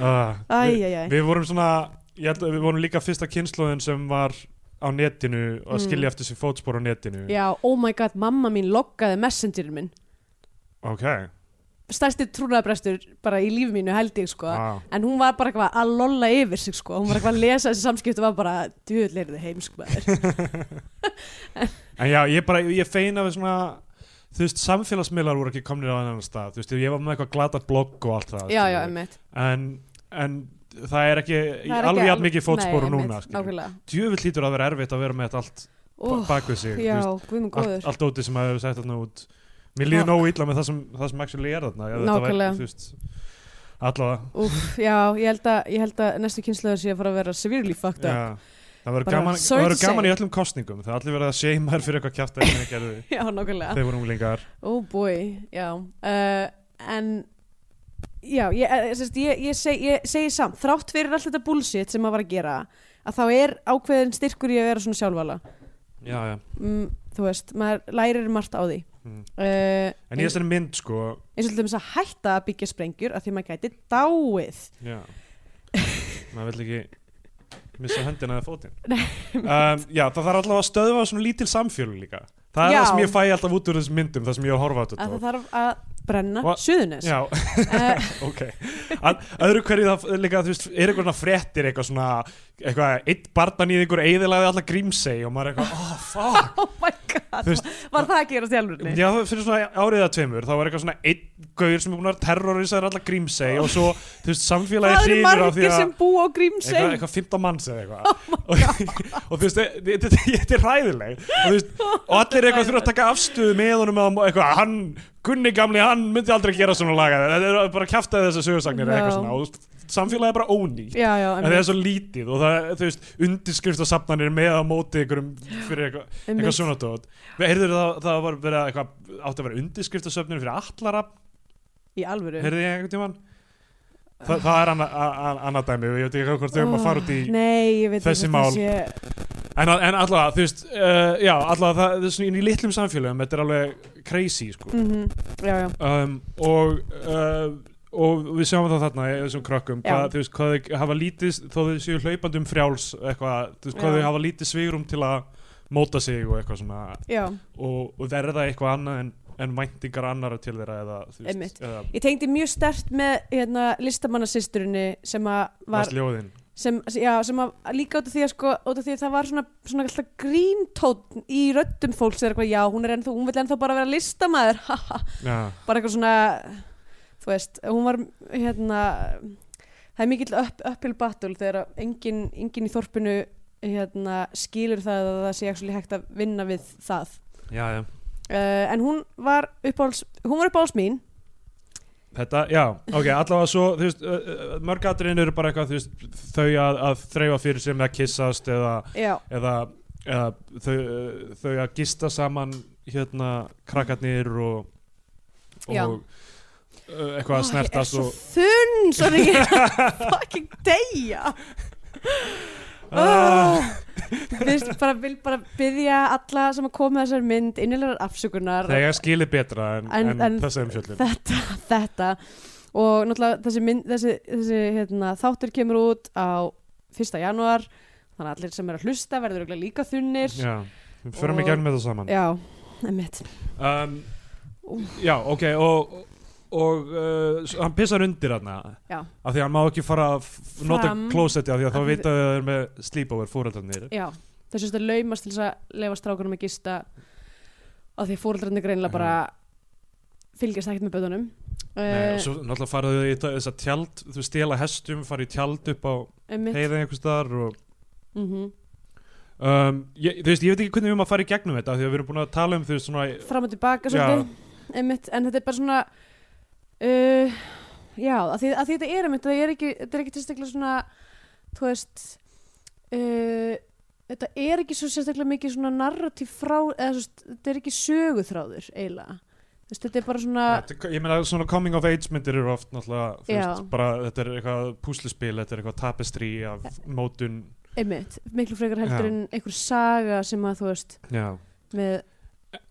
S2: uh,
S3: Æ,
S2: við,
S3: æ, æ.
S2: við vorum svona ég held að við vorum líka fyrsta kynnslóðin sem var á netinu og að skilja eftir sér fótspor á netinu
S3: Mm. Já, oh my god, mamma mín loggaði messengerin minn
S2: ok,
S3: stærsti trúnaðabrestur bara í lífi mínu held ég sko
S2: Vá.
S3: en hún var bara eitthvað að lolla yfir sig sko hún var eitthvað að lesa þessi samskipti og var bara djöðl er þið heimsk maður
S2: en já, ég bara ég feina við svona þú veist, samfélagsmiðlar voru ekki komnir á annan stað þú veist, ég var með eitthvað glatat blogg og allt það
S3: Já,
S2: skilur.
S3: já, emmitt
S2: en, en það er ekki alveg jafn mikið fótspor og núna skilur.
S3: Nákvæmlega
S2: djöfull lítur að vera erfitt að vera með þetta allt
S3: Ó,
S2: oh, bak við sig þú
S3: Já,
S2: veist,
S3: guðmund
S2: allt,
S3: góður
S2: allt óti sem að hefur sett þarna út mér líður
S3: Já.
S2: nógu illa með það sem, það sem actually er þarna ef þetta væri,
S3: Nákvæmlega.
S2: þú veist, allavega
S3: Úff, já, ég held að, ég held að næstu kynsluður sé að fara að vera severely fucked up
S2: Já. Það verður
S3: Bara
S2: gaman,
S3: sorry
S2: það verður
S3: to
S2: gaman
S3: say.
S2: í öllum kostningum Það er allir verið að seima þær fyrir eitthvað kjátt að þeir gerðu
S3: já, nákvæmlega
S2: þegar voru unglingar
S3: oh boy, já uh, en já, ég, eh, sem sagt, ég, ég, seg, ég segi samt þrátt fyrir allt þetta bullshit sem maður var að gera að þá er ákveðin styrkur í að vera svona sjálfvala
S2: Já, já
S3: mm, þú veist, maður lærir margt á því
S2: Mm.
S3: uh,
S2: En í þessari mynd sko
S3: eins og til þess að hætta að byggja sprengjur að því maður gæti dáið
S2: Já Maður vill ekki missa höndina eða fótinn um, Já, það þarf allavega að stöðva svona lítil samfjölu líka Það er
S3: Já.
S2: það sem ég fæ alltaf út úr þessum myndum Það sem ég er að horfa á
S3: að það
S2: þetta
S3: þarf að brenna
S2: What?
S3: suðunes
S2: Já,
S3: uh,
S2: ok Að- Öðru hverju það líka, þú veist, er eitthvað svona fréttir eitthvað svona, eitthvað, eitt barnan í einhver eðilaði allar grímsei og maður er eitthvað, oh fuck
S3: oh my god,
S2: Þú veist-
S3: var það að gera stjálfurni
S2: Já, fyrir svona áriða tveimur þá var eitthvað svona einn gaur sem er búin að terrorisera allar grímsei og svo, þú veist, samfélagi
S3: það eru
S2: hrynur af því
S3: margir
S2: að-
S3: sem bú á grímsei
S2: eitthvað, eitthvað 15 manns eða
S3: Oh
S2: eitthvað og, og þú veist, e- þetta þetta er ræðileg og, þú veist, og allir eitthvað þurfa að taka afstöðu með honum að, eitthvað, hann, Gunni gamli hann myndi aldrei gera svona laga þetta er bara að kjafta þessar sögursagnir eða eitthvað
S3: Já.
S2: svona og þú veist, samfélagið er bara ónýtt
S3: já, já,
S2: en það
S3: einmitt.
S2: er svo lítið og það, þú veist, undirskriftasafnanir með á móti einhverjum fyrir eitthvað,
S3: Einmitt.
S2: eitthvað svona tótt heyrður það, það var verið að eitthvað, átti að vera undirskriftasöfnir fyrir allarab
S3: í alvöru
S2: heyrði ég einhvern tímann Þa, það er annað anna dæmi og ég veit ekki hvort þau um að fara út í
S3: Ah, Nei, ég veit ekki
S2: þessi
S3: hvort
S2: mál.
S3: það sé-
S2: En, en allavega, þú veist, uh, já, allavega það, það er svona í litlum samfélagum, þetta er alveg crazy, sko.
S3: Mhm, já, já,
S2: Um, og, uh, og við sjáum það þarna, í þessum krökkum,
S3: Já.
S2: hvað, þú veist, hvað þau hafa lítið, þó þau séu hlaupandi um frjáls, eitthvað, þú veist, hvað
S3: Já.
S2: þau hafa lítið svigrum til að móta sig og eitthvað svona,
S3: já.
S2: og, og verða eitthvað annað en, en væntingar annara til þeirra eða, þú
S3: Einmitt.
S2: veist, eða,
S3: Ég tengdi mjög stert með hérna, listamannasysturinni sem að var
S2: var sljóðin.
S3: sem, já, sem að líka út af því að sko, út af því að það var svona, svona alltaf gríntótt í röddum fólks eða eitthvað, já, hún er ennþá, hún vil ennþá bara vera listamaður ha, ha,
S2: Já,
S3: bara eitthvað svona þú veist, hún var hérna, það er mikill upp, upphil battle þegar að enginn engin í þorpinu hérna, skilur það að það sé actually hægt að vinna við það
S2: já, já.
S3: uh, en hún var uppáhalds hún var uppáhalds mín
S2: Þetta, já, ok, allavega svo þú veist, uh, uh, mörg atriðin eru bara eitthvað þú veist, þau að, að þreifa fyrir sem að kissast eða,
S3: já,
S2: eða, eða þau, uh, þau að gista saman hérna krakkarnir og, og
S3: Já.
S2: uh, eitthvað að snertast
S3: og
S2: og
S3: þunn, svo er ég er að fucking deyja
S2: Ah,
S3: oh. Vist, bara, vil bara byrja alla sem að koma að þessar mynd innilegar afsökunar
S2: þegar skilið betra en,
S3: En-
S2: en,
S3: en-
S2: þessi umfjöldin
S3: þetta, þetta og náttúrulega þessi, mynd, þessi, þessi hérna, þáttur kemur út á 1. janúar þannig að allir sem er að hlusta verður örugglega líka þunnir
S2: Já, við förum
S3: Og-
S2: ekki enn með það saman
S3: já emmitt
S2: um, Já, ok og, og uh, s- hann pissar undir hana
S3: Já.
S2: af því að hann má ekki fara að f- nota
S3: Fram.
S2: klósetti af því að
S3: Af
S2: þá
S3: því-
S2: vita þau að það er með sleepover fóreldarnir
S3: já, þessi að laumast til þess að leifa strákunum að gista og því fóreldrarnir greinilega bara fylgjast ekkert með Eh, bötunum
S2: Nei, og svo náttúrulega fara þau í þetta- þessa tjald þau stela hestum, fara í tjald upp á
S3: emmitt
S2: heiðin einhvers þar og
S3: mm -hmm.
S2: um, ég, þú veist, ég veit ekki hvernig við erum að fara í gegnum þetta af því að við erum búin að tala um þú veist svona
S3: fram og tilbaka
S2: Já.
S3: svolítið einmitt, en þetta er bara svona uh, já, að því, að því þetta er einmitt, það er ekki, þetta er ekki tilstaklega svona þú veist uh, þetta er ekki svo sérstaklega mikið svona narratív frá eða svo, þetta er ekki söguþráður eiginlega, þú veist, þetta er bara svona
S2: Þetta- Ég meina svona coming of age myndir eru oft náttúrulega, þú
S3: Uh. Já.
S2: veist, bara þetta er eitthvað púsluspil, þetta er eitthvað tapestri af mótun,
S3: einmitt, miklu frekar
S2: Já.
S3: heldur en einhver saga sem að þú veist
S2: já
S3: með,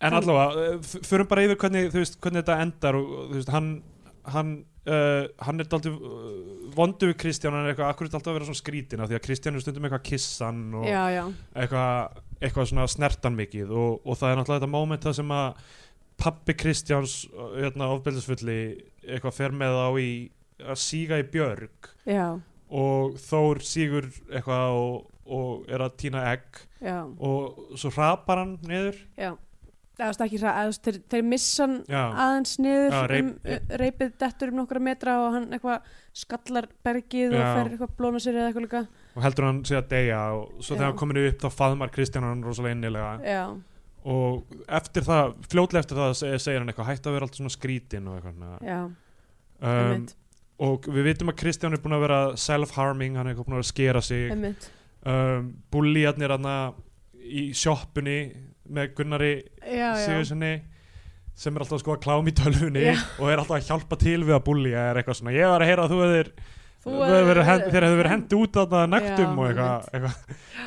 S2: En allavega, eh, f- förum bara yfir hvernig, þú veist, hvernig þetta endar og og, þú veist, hann, hann, uh, hann er daldið uh, vondu við Kristján, hann er eitthvað akkurat alltaf að vera svona skrítin af því að Kristján er stundum eitthvað kissan og
S3: já, já,
S2: eitthvað, eitthvað svona snertan mikið og, og það er náttúrulega þetta moment það sem að pappi Kristjáns, uh, hérna, ofbeldisfulli, eitthvað fer með á í að síga í björg
S3: já,
S2: og Þór sígur eitthvað og, og er að týna egg
S3: já,
S2: og svo rapar hann niður.
S3: já. Það varst ekki það, þeir, þeir missan
S2: Já.
S3: aðeins niður
S2: Já, reip-
S3: um, uh, reipið dettur um nokkra metra og hann eitthvað skallar bergið og
S2: Já.
S3: fer eitthvað blóna sér eða eitthvað líka
S2: og heldur hann sé að deyja og svo
S3: Já.
S2: þegar hann komin upp þá faðmar Kristján hann rosalega innilega
S3: já,
S2: og eftir það, fljótlega eftir það segir, segir hann eitthvað hætt að vera alltaf svona skrítin og eitthvað
S3: já,
S2: um,
S3: emmitt
S2: og við vitum að Kristján er búin að vera self-harming, hann er eitthvað búin að vera að skera sig
S3: emmitt,
S2: um, Búlíarnir hann í sjoppunni með Gunnari
S3: já, já.
S2: Sigurssoni sem er alltaf sko að klám í tölvunni
S3: Já.
S2: og er alltaf að hjálpa til við að búlja eða eitthvað svona, ég var að heyra að þú hefur þér hefur verið hendi út að
S3: Já,
S2: nægtum og eitthvað
S3: einmitt.
S2: eitthvað,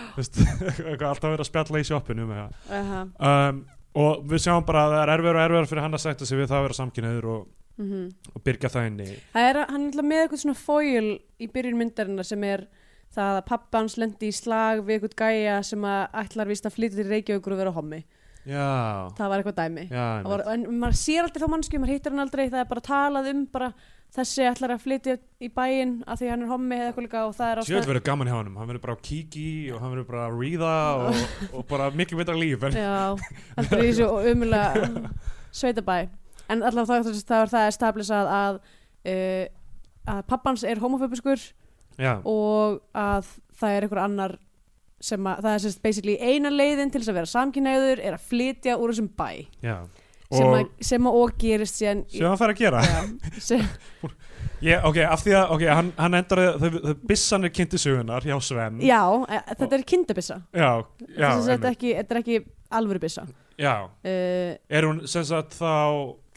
S2: þú veist, eitthvað alltaf verið að spjalla í sjoppinu um eitthvað.
S3: Aha,
S2: um, og við sjáum bara að það er erfiður og erfiður fyrir hann að sætta sig við það að vera samkynniður og,
S3: mhm.
S2: og byrja það inn í
S3: Það er, hann er alltaf með eitthvað svona fóil í byrjun myndarinnar sem er það að pappa hans lendi í slag við eitthvað gæja sem að ætlar vist að flytja til Reykjavíkur og vera hommi.
S2: já,
S3: Það var eitthvað dæmi.
S2: já,
S3: Það var, en maður sér aldrei þá mannskju, maður hittir hann aldrei, það er bara talað um bara þessi ætlar að flytja í bæinn af því að hann er hommi eða eitthvað líka og það er
S2: Sjöld verður gaman hjá honum, hann verður bara á kíki og hann verður bara að ríða og, og bara miklu betra líf en
S3: Já, aldrei í þessu umulega sveitabæ. En allavega þá- þá þá er það establisað að, uh, að pappans er homofóbiskur
S2: já,
S3: og að það er einhver annar sem að, það er sérst basically eina leiðin til þess að vera samkynæður er að flytja úr þessum bæ
S2: já.
S3: sem,
S2: og
S3: að, sem að og gerist síðan í-
S2: sem hann fær að gera
S3: Já, sem,
S2: yeah, ok, af því að okay, hann, hann endar að- þau- þau- bissan er kynnti sögunar hjá Sven
S3: já e, þetta er kindabissa
S2: já, já,
S3: þetta er
S2: einmitt.
S3: ekki, þetta er ekki alvöru bissa uh,
S2: já.
S3: það
S2: er hún sem sagt þá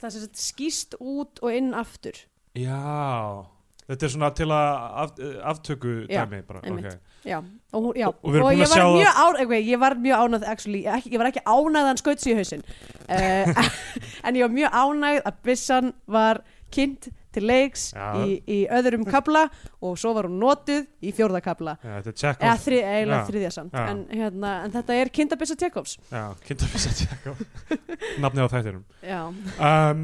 S3: er sérst skýst út og inn aftur
S2: já, þetta er svona til að af, aftöku
S3: Já,
S2: dæmi bara,
S3: einmitt.
S2: ok
S3: já, og, hún, já.
S2: Og- og við erum búin
S3: ég,
S2: að sjá
S3: var
S2: það-
S3: mjög án, okay, ég var mjög ánægð actually, ég, ekki, ég var ekki ánægð að hann skaut sig í hausinn uh, en ég var mjög ánægð að bissan var kynnt til leiks
S2: Já.
S3: í, í öðrum kabla og svo var hún notuð í fjórða kabla
S2: já, þetta er check
S3: eða
S2: off
S3: þrið, eiginlega
S2: Já.
S3: þriðja samt
S2: Já.
S3: en, hérna, en þetta er kindabissa Tjekovs
S2: já, kynntabissa check off nafnið á þættinum
S3: já,
S2: um,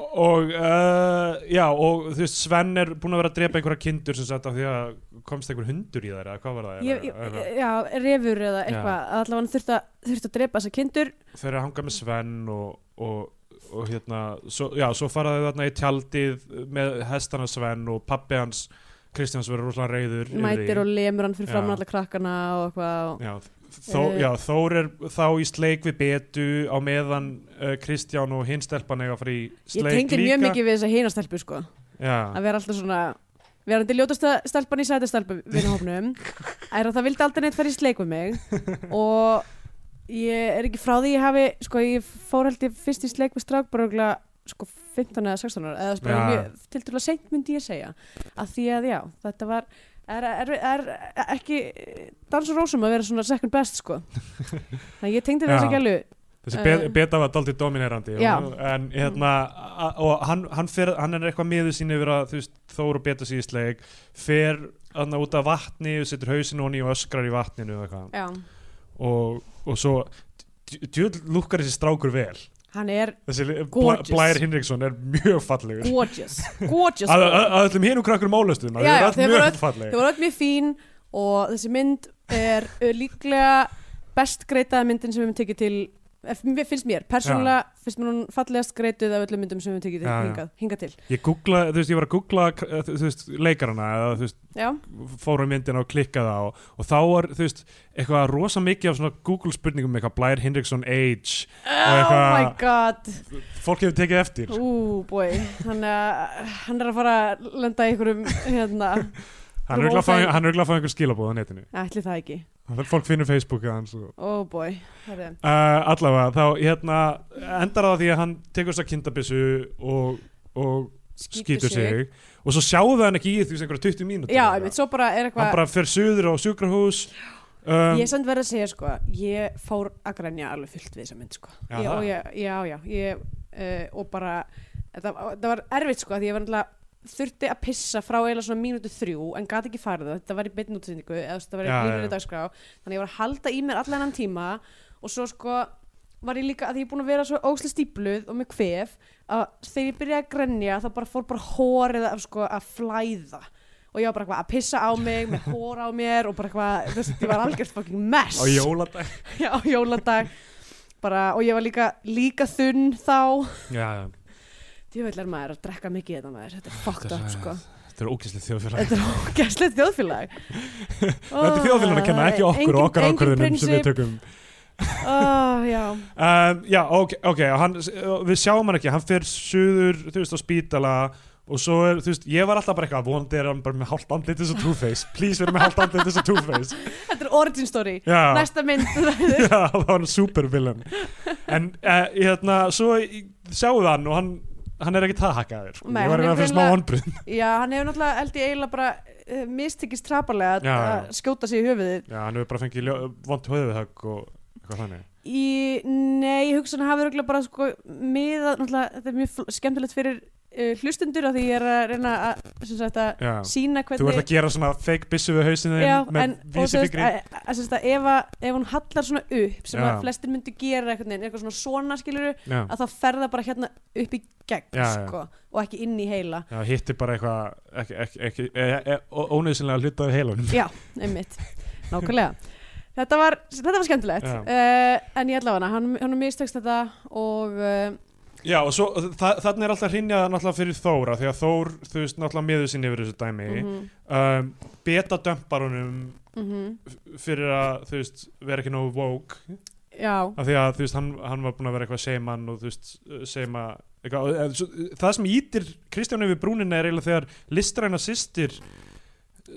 S2: og uh, já, og þú veist Sven er búin að vera að drepa einhverja kindur sem sagt af því að komst einhver hundur í þær eða hvað var það
S3: ég,
S2: Eða- eða-
S3: ég, já refur eða eitthvað, allavega hann þurfti að, þurfti að drepa þessa kindur
S2: þeir eru að hanga með Sven og, og, og hérna svo, já, svo fara þau þarna í tjaldið með hestana Sven og pappi hans Kristjáns verður rosalega reyður yfir því.
S3: mætir og lemur hann fyrir
S2: Já.
S3: framan alla krakkana og eitthvað og,
S2: já, þó,
S3: Eh.
S2: já, Þór er þá í sleik við Betu á meðan uh, Kristján og hinn stelpan eiga að fara í
S3: ég
S2: sleik
S3: tengdi
S2: líka
S3: mjög mikið við þessa hinastelpu sko
S2: já,
S3: að vera alltaf svona verandi ljótasta stelpan í sætastelpu vinahópnum er að það vildi aldrei neitt fara í sleik við mig og ég er ekki frá því ég hafi sko ég fór held ég fyrst í sleik við strák bara örugglega, sko 15 eða 16 ára eða bara
S2: Já.
S3: mjög, til dæla seint myndi ég segja að því að já þetta var er, er, er, er ekki dans og rósum að vera svona second best sko þannig að ég tengdi
S2: Já.
S3: þess ekki alveg
S2: þessi
S3: eh.
S2: uh, Beta var daldið dominerandi
S3: Já.
S2: og, en hérna a- og hann, hann, fer, hann er eitthvað miður sín yfir að þú veist, Þór og Beta sé í sleik fer hann út af vatni og setur hausinn honi og öskrar í vatninu eða eitthvað
S3: já.
S2: og, og svo djöðl lukkar þessi strákur vel
S3: hann er
S2: þessi li- bla,
S3: Gorgeous.
S2: Blær Hinriksson er mjög fallegur
S3: gorgeous gorgeous
S2: að, að, að öllum hinn og krakkur málaustum
S3: Já, já,
S2: þeir
S3: þeir
S2: eru
S3: voru
S2: allt mjög
S3: Þau
S2: fallegir
S3: voru öll mjög fín og þessi mynd er ö, líklega best greitaða myndin sem við höfum tekið til eh, mér finnst mér, persónulega finnst mér hún fallegast greituð af öllum myndum sem við höfum tekið til
S2: Já, já.
S3: hingað, hingað til
S2: ég googla, þú veist, ég var að googla k- eh, þú veist, leikarana eða þú veist,
S3: Já,
S2: fórum myndin og klikkaði á og þá var, þú veist, eitthvað rosa mikið af svona Google spurningum, eitthvað Blær Hinriksson age,
S3: oh
S2: eitthvað-
S3: my god
S2: fólk hefur tekið eftir
S3: Ú, boy, hann, eh, hann er að fara að lenda í einhverjum hérna,
S2: hann er
S3: Þú
S2: örugglega að fá-
S3: óþæg-
S2: hann er örugglega að fá einhver skilabóð á netinu,
S3: ætli það ekki
S2: fólk finnur Facebookið hans og
S3: Ó, oh boy, herri
S2: uh, allavega, þá hérna endar það á því að hann tekur þess að kindabissu og, og skýtur sig. og svo sjáum við hann ekki í því sem einhverja 20 mínútur
S3: Já,
S2: eða
S3: einmitt, svo bara er
S2: hann
S3: eitthvað
S2: bara fer suður á sjúkrahús um,
S3: Ég er samt verið að segja sko, ég fór að grænja alveg fullt við þessa mynd sko.
S2: Já,
S3: ég,
S2: það?
S3: og ég, já, já, ég, uh, og bara, það, það var erfitt sko, því ég var náttúrulega þurfti að pissa frá eiginlega svona mínútu þrjú en gat ekki farið það, þetta var í beinnútsendingu eða þú veist, þetta var í
S2: Já, já,
S3: línunni
S2: já.
S3: dagskrá þannig ég var að halda í mér allan hann tíma og svo sko var ég líka að því ég er búin að vera svo óslega stípluð og með kvef að þegar ég byrjaði að grenja þá bara fór bara hórið að, sko, að flæða og ég var bara eitthvað að pissa á mig með hóra á mér og bara eitthvað, þú veist, ég var algjört fucking mess
S2: á jóladag
S3: Já, á jóladag bara, og ég var líka, líka þunn þá
S2: já,
S3: djöfell er maður að drekka mikið þetta maður þetta er fucked
S2: Þetta
S3: up
S2: er-
S3: sko
S2: þetta er ógæslið þjóðfélag
S3: þetta er ógæslegt þjóðfélag
S2: þetta er þjóðfélag að kenna ekki okkur og okkar ákvörðunum sem við tökum
S3: oh, já,
S2: um, já, ok, okay hann, við sjáum hann ekki hann fer suður, þú veist, á spítala og svo er, þú veist, ég var alltaf bara eitthvað vonandi er hann bara með hálft andlit eins og Two-Face please verður með hálft andlit eins og Two-Face
S3: Þetta er origin story
S2: Já.
S3: Næsta mynd
S2: Já, það var hann supervillan en uh, hérna, svo í- sjáðu hann og hann, hann er ekki það hakkaður sko.
S3: Nei,
S2: ég var
S3: hann er
S2: eitthvað fyrir smá
S3: greinilega-
S2: vonbrun
S3: Já, hann hefur náttúrulega held ég eiginlega bara uh, mistekist traparlega að,
S2: Já, já.
S3: að skjóta sig í höfuðið
S2: Já, hann hefur bara fengið ljó, vont höfuðhögg og eitthvað þannig
S3: í, Nei, ég hugsa hann hafi örugglega bara sko miða, náttúrulega, þetta er mjög fl- skemmtilegt fyrir uh, hlustundur af því ég er að reyna að, sem sagt, að
S2: Já.
S3: sína hvernig
S2: Þú ert að gera svona fake byssu við hausinu
S3: Já,
S2: með
S3: en og eh, sem sagt,
S2: vísifingri
S3: að- að- að sem sagt að ef, að- ef hún hallar svona upp sem
S2: Já.
S3: að flestir myndu gera eitthvað, eitthvað svona svona skiluru
S2: Já,
S3: að það ferða bara hérna upp í gegn
S2: Já, já.
S3: sko, og ekki inn í heila
S2: Já, hitti bara eitthvað ekki, ekki, ekki, e, e, ónöðsynlega hlutaði heilunum
S3: Já, einmitt, nákvæmlega Þetta var, þetta var skemmtilegt
S2: Já.
S3: uh, en ég ætla hana, hann, hann mistekst þetta og uh,
S2: Já, og svo, þa þannig er alltaf hrinjað náttúrulega fyrir Þóra, því að Þór, þú veist, náttúrulega miður sinni yfir þessu dæmi
S3: mm -hmm,
S2: um, beta dömpar honum
S3: mhm.
S2: f- fyrir að, þú veist, vera ekki nógu woke,
S3: já,
S2: af því að, þú veist, hann, hann var búin að vera eitthvað seiman og, þú veist, eh, seima eitthvað, og, e, svo- það sem ítir Kristján yfir brúnina er eiginlega þegar listræna systir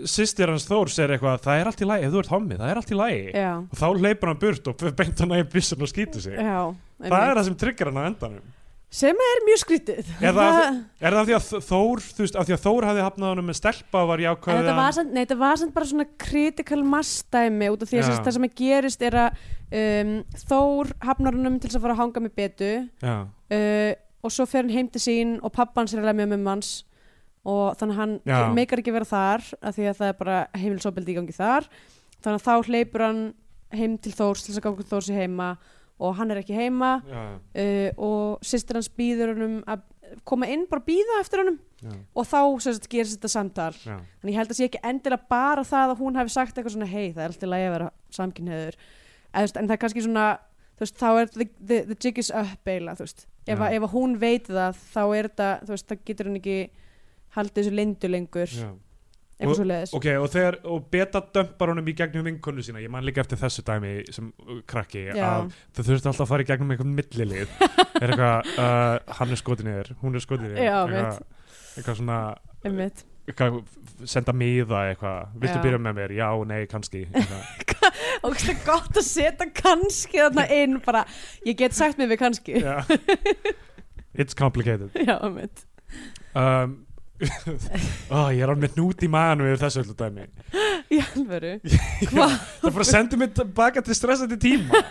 S2: systir hans Þórs er eitthvað, það er allt í lagi, ef þú ert hommi, það er allt í lagi
S3: já,
S2: og þá hleypur hann burt og beint hann í byssun og skýtur sig
S3: já
S2: það
S3: einmitt.
S2: er það sem tryggar hann á endanum
S3: sem er mjög skrítið
S2: Er það- er það af því að Þ- Þór þú veist, af því að Þór hafði hafnað honum með stelpa var ég
S3: En
S2: ákvæðið
S3: þetta var, samt, nei, þetta var samt bara svona critical mass dæmi út af því
S2: Já.
S3: að sem sagt það sem að gerist er að um, Þór hafnar húnum til þess að fara að hanga með betu
S2: já,
S3: uh, og svo fer hann heim til sín og pappan sér að lemja með manns og þannig að hann
S2: Já.
S3: meikar ekki vera þar af því að það er bara heimilsopildi í gangi þar þannig að þá hleypur hann heim til Þórs til þess að ganga Þórs í heima og hann er ekki heima
S2: já,
S3: uh, og systir hans býður honum að koma inn bara býða eftir honum
S2: já,
S3: og þá sem sagt gerist þetta samtal
S2: já.
S3: Þannig ég held að sé ekki endilega bara það að hún hafi sagt eitthvað svona hei það er alltaf lægi að vera samkynniður en, en það er kannski svona þú veist, þá er the, the, the jig is up eila ef,
S2: Já.
S3: að- ef að hún veit það þá er þetta þú veist, það getur hún ekki haldið þessu lindu lengur
S2: já.
S3: eitthvað svo leiðis
S2: ok, og, þegar, og beta dömpar honum í gegnum vinkonu sína ég man líka eftir þessu dæmi sem uh, krakki
S3: Já.
S2: að þau þurftu alltaf að fara í gegnum einhvern millilið er eitthvað, uh, hann er skotin í þér hún er skotin í þér
S3: Já,
S2: eitthvað, eitthvað svona
S3: einmitt
S2: eitthvað, senda miða eitthvað viltu
S3: Já.
S2: byrja með mér, já, nei, kannski eitthvað.
S3: og það er gott að setja kannski þarna inn bara ég get sagt mér við kannski já,
S2: Já. It's complicated
S3: einmitt
S2: um, ó, Ég er alveg með hnút í maðanum yfir þessu öllu dæmi
S3: í alvöru
S2: Það er bara að senda mig baka til stressandi tíma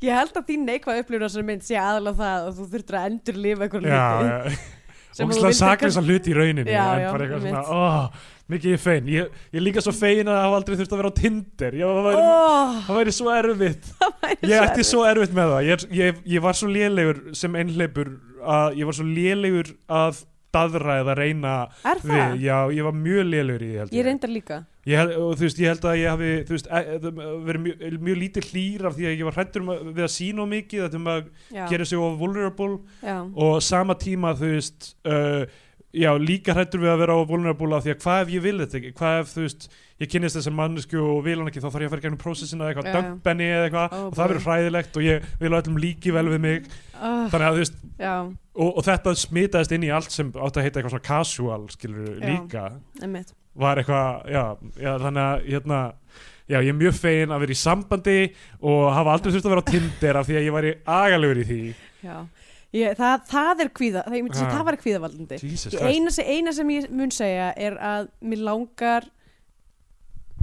S3: ég held að þín neikvað upplifur þessari mynd sé aðalega það og þú þurftur að endur lifa eitthvað hluti
S2: Já,
S3: sem þú
S2: ógislega
S3: vildir
S2: saklis að hluti í rauninni
S3: Já,
S2: En
S3: já,
S2: bara eitthvað
S3: einmitt.
S2: svona, ó, mikið ég er fein Ég, ég er líka svo fein að hafa aldrei þurft að vera á Tinder Já, það væri,
S3: oh,
S2: það væri svo erfitt
S3: það væri
S2: Ég
S3: svo
S2: ætti
S3: erfitt.
S2: svo erfitt með það Ég, er- ég, ég var svo lélegur sem einhleipur að, Ég var svo lélegur að daðra eða reyna
S3: Er það?
S2: við, Já, ég var mjög lélegur í því held
S3: Ég reyndar líka
S2: Ég, hel- og þú veist, ég held að ég hafi þú veist, e- e- verið mjög, mjög lítið hlýr af því að ég var hrættur um að, við að sína of mikið þetta um að
S3: Já,
S2: gera sig of vulnerable
S3: já,
S2: og sama tíma þú veist uh, já, líka hrættur við að vera of vulnerable af því að hvað ef ég vil þetta ekki hvað ef þú veist, ég kynnist þessar mannesku og vil hann ekki þá þarf ég að fara í gegnum prósessina eða
S3: Já,
S2: eitthvað,
S3: já.
S2: dömpenni eða eitthvað
S3: Ó,
S2: og það
S3: boy.
S2: verður hræðilegt og ég vil að öllum líki vel við mig
S3: uh,
S2: þannig að þú veist,
S3: já,
S2: og, og þetta smitaðist inn í allt sem átt að heita eitthvað svona casual skilur
S3: Já.
S2: líka
S3: emmitt
S2: var eitthvað, já, já þannig að hérna, já, ég er mjög fegin að vera í sambandi og hafa aldrei þurft að vera á Tinder af því að ég væri agalegur í því
S3: já. Ég, það, það er kvíða, það, ég myndi segja
S2: Já.
S3: það var kvíðavaldandi
S2: Ah. Jesus
S3: Ég eina, sem- eina sem ég mun segja er að mér langar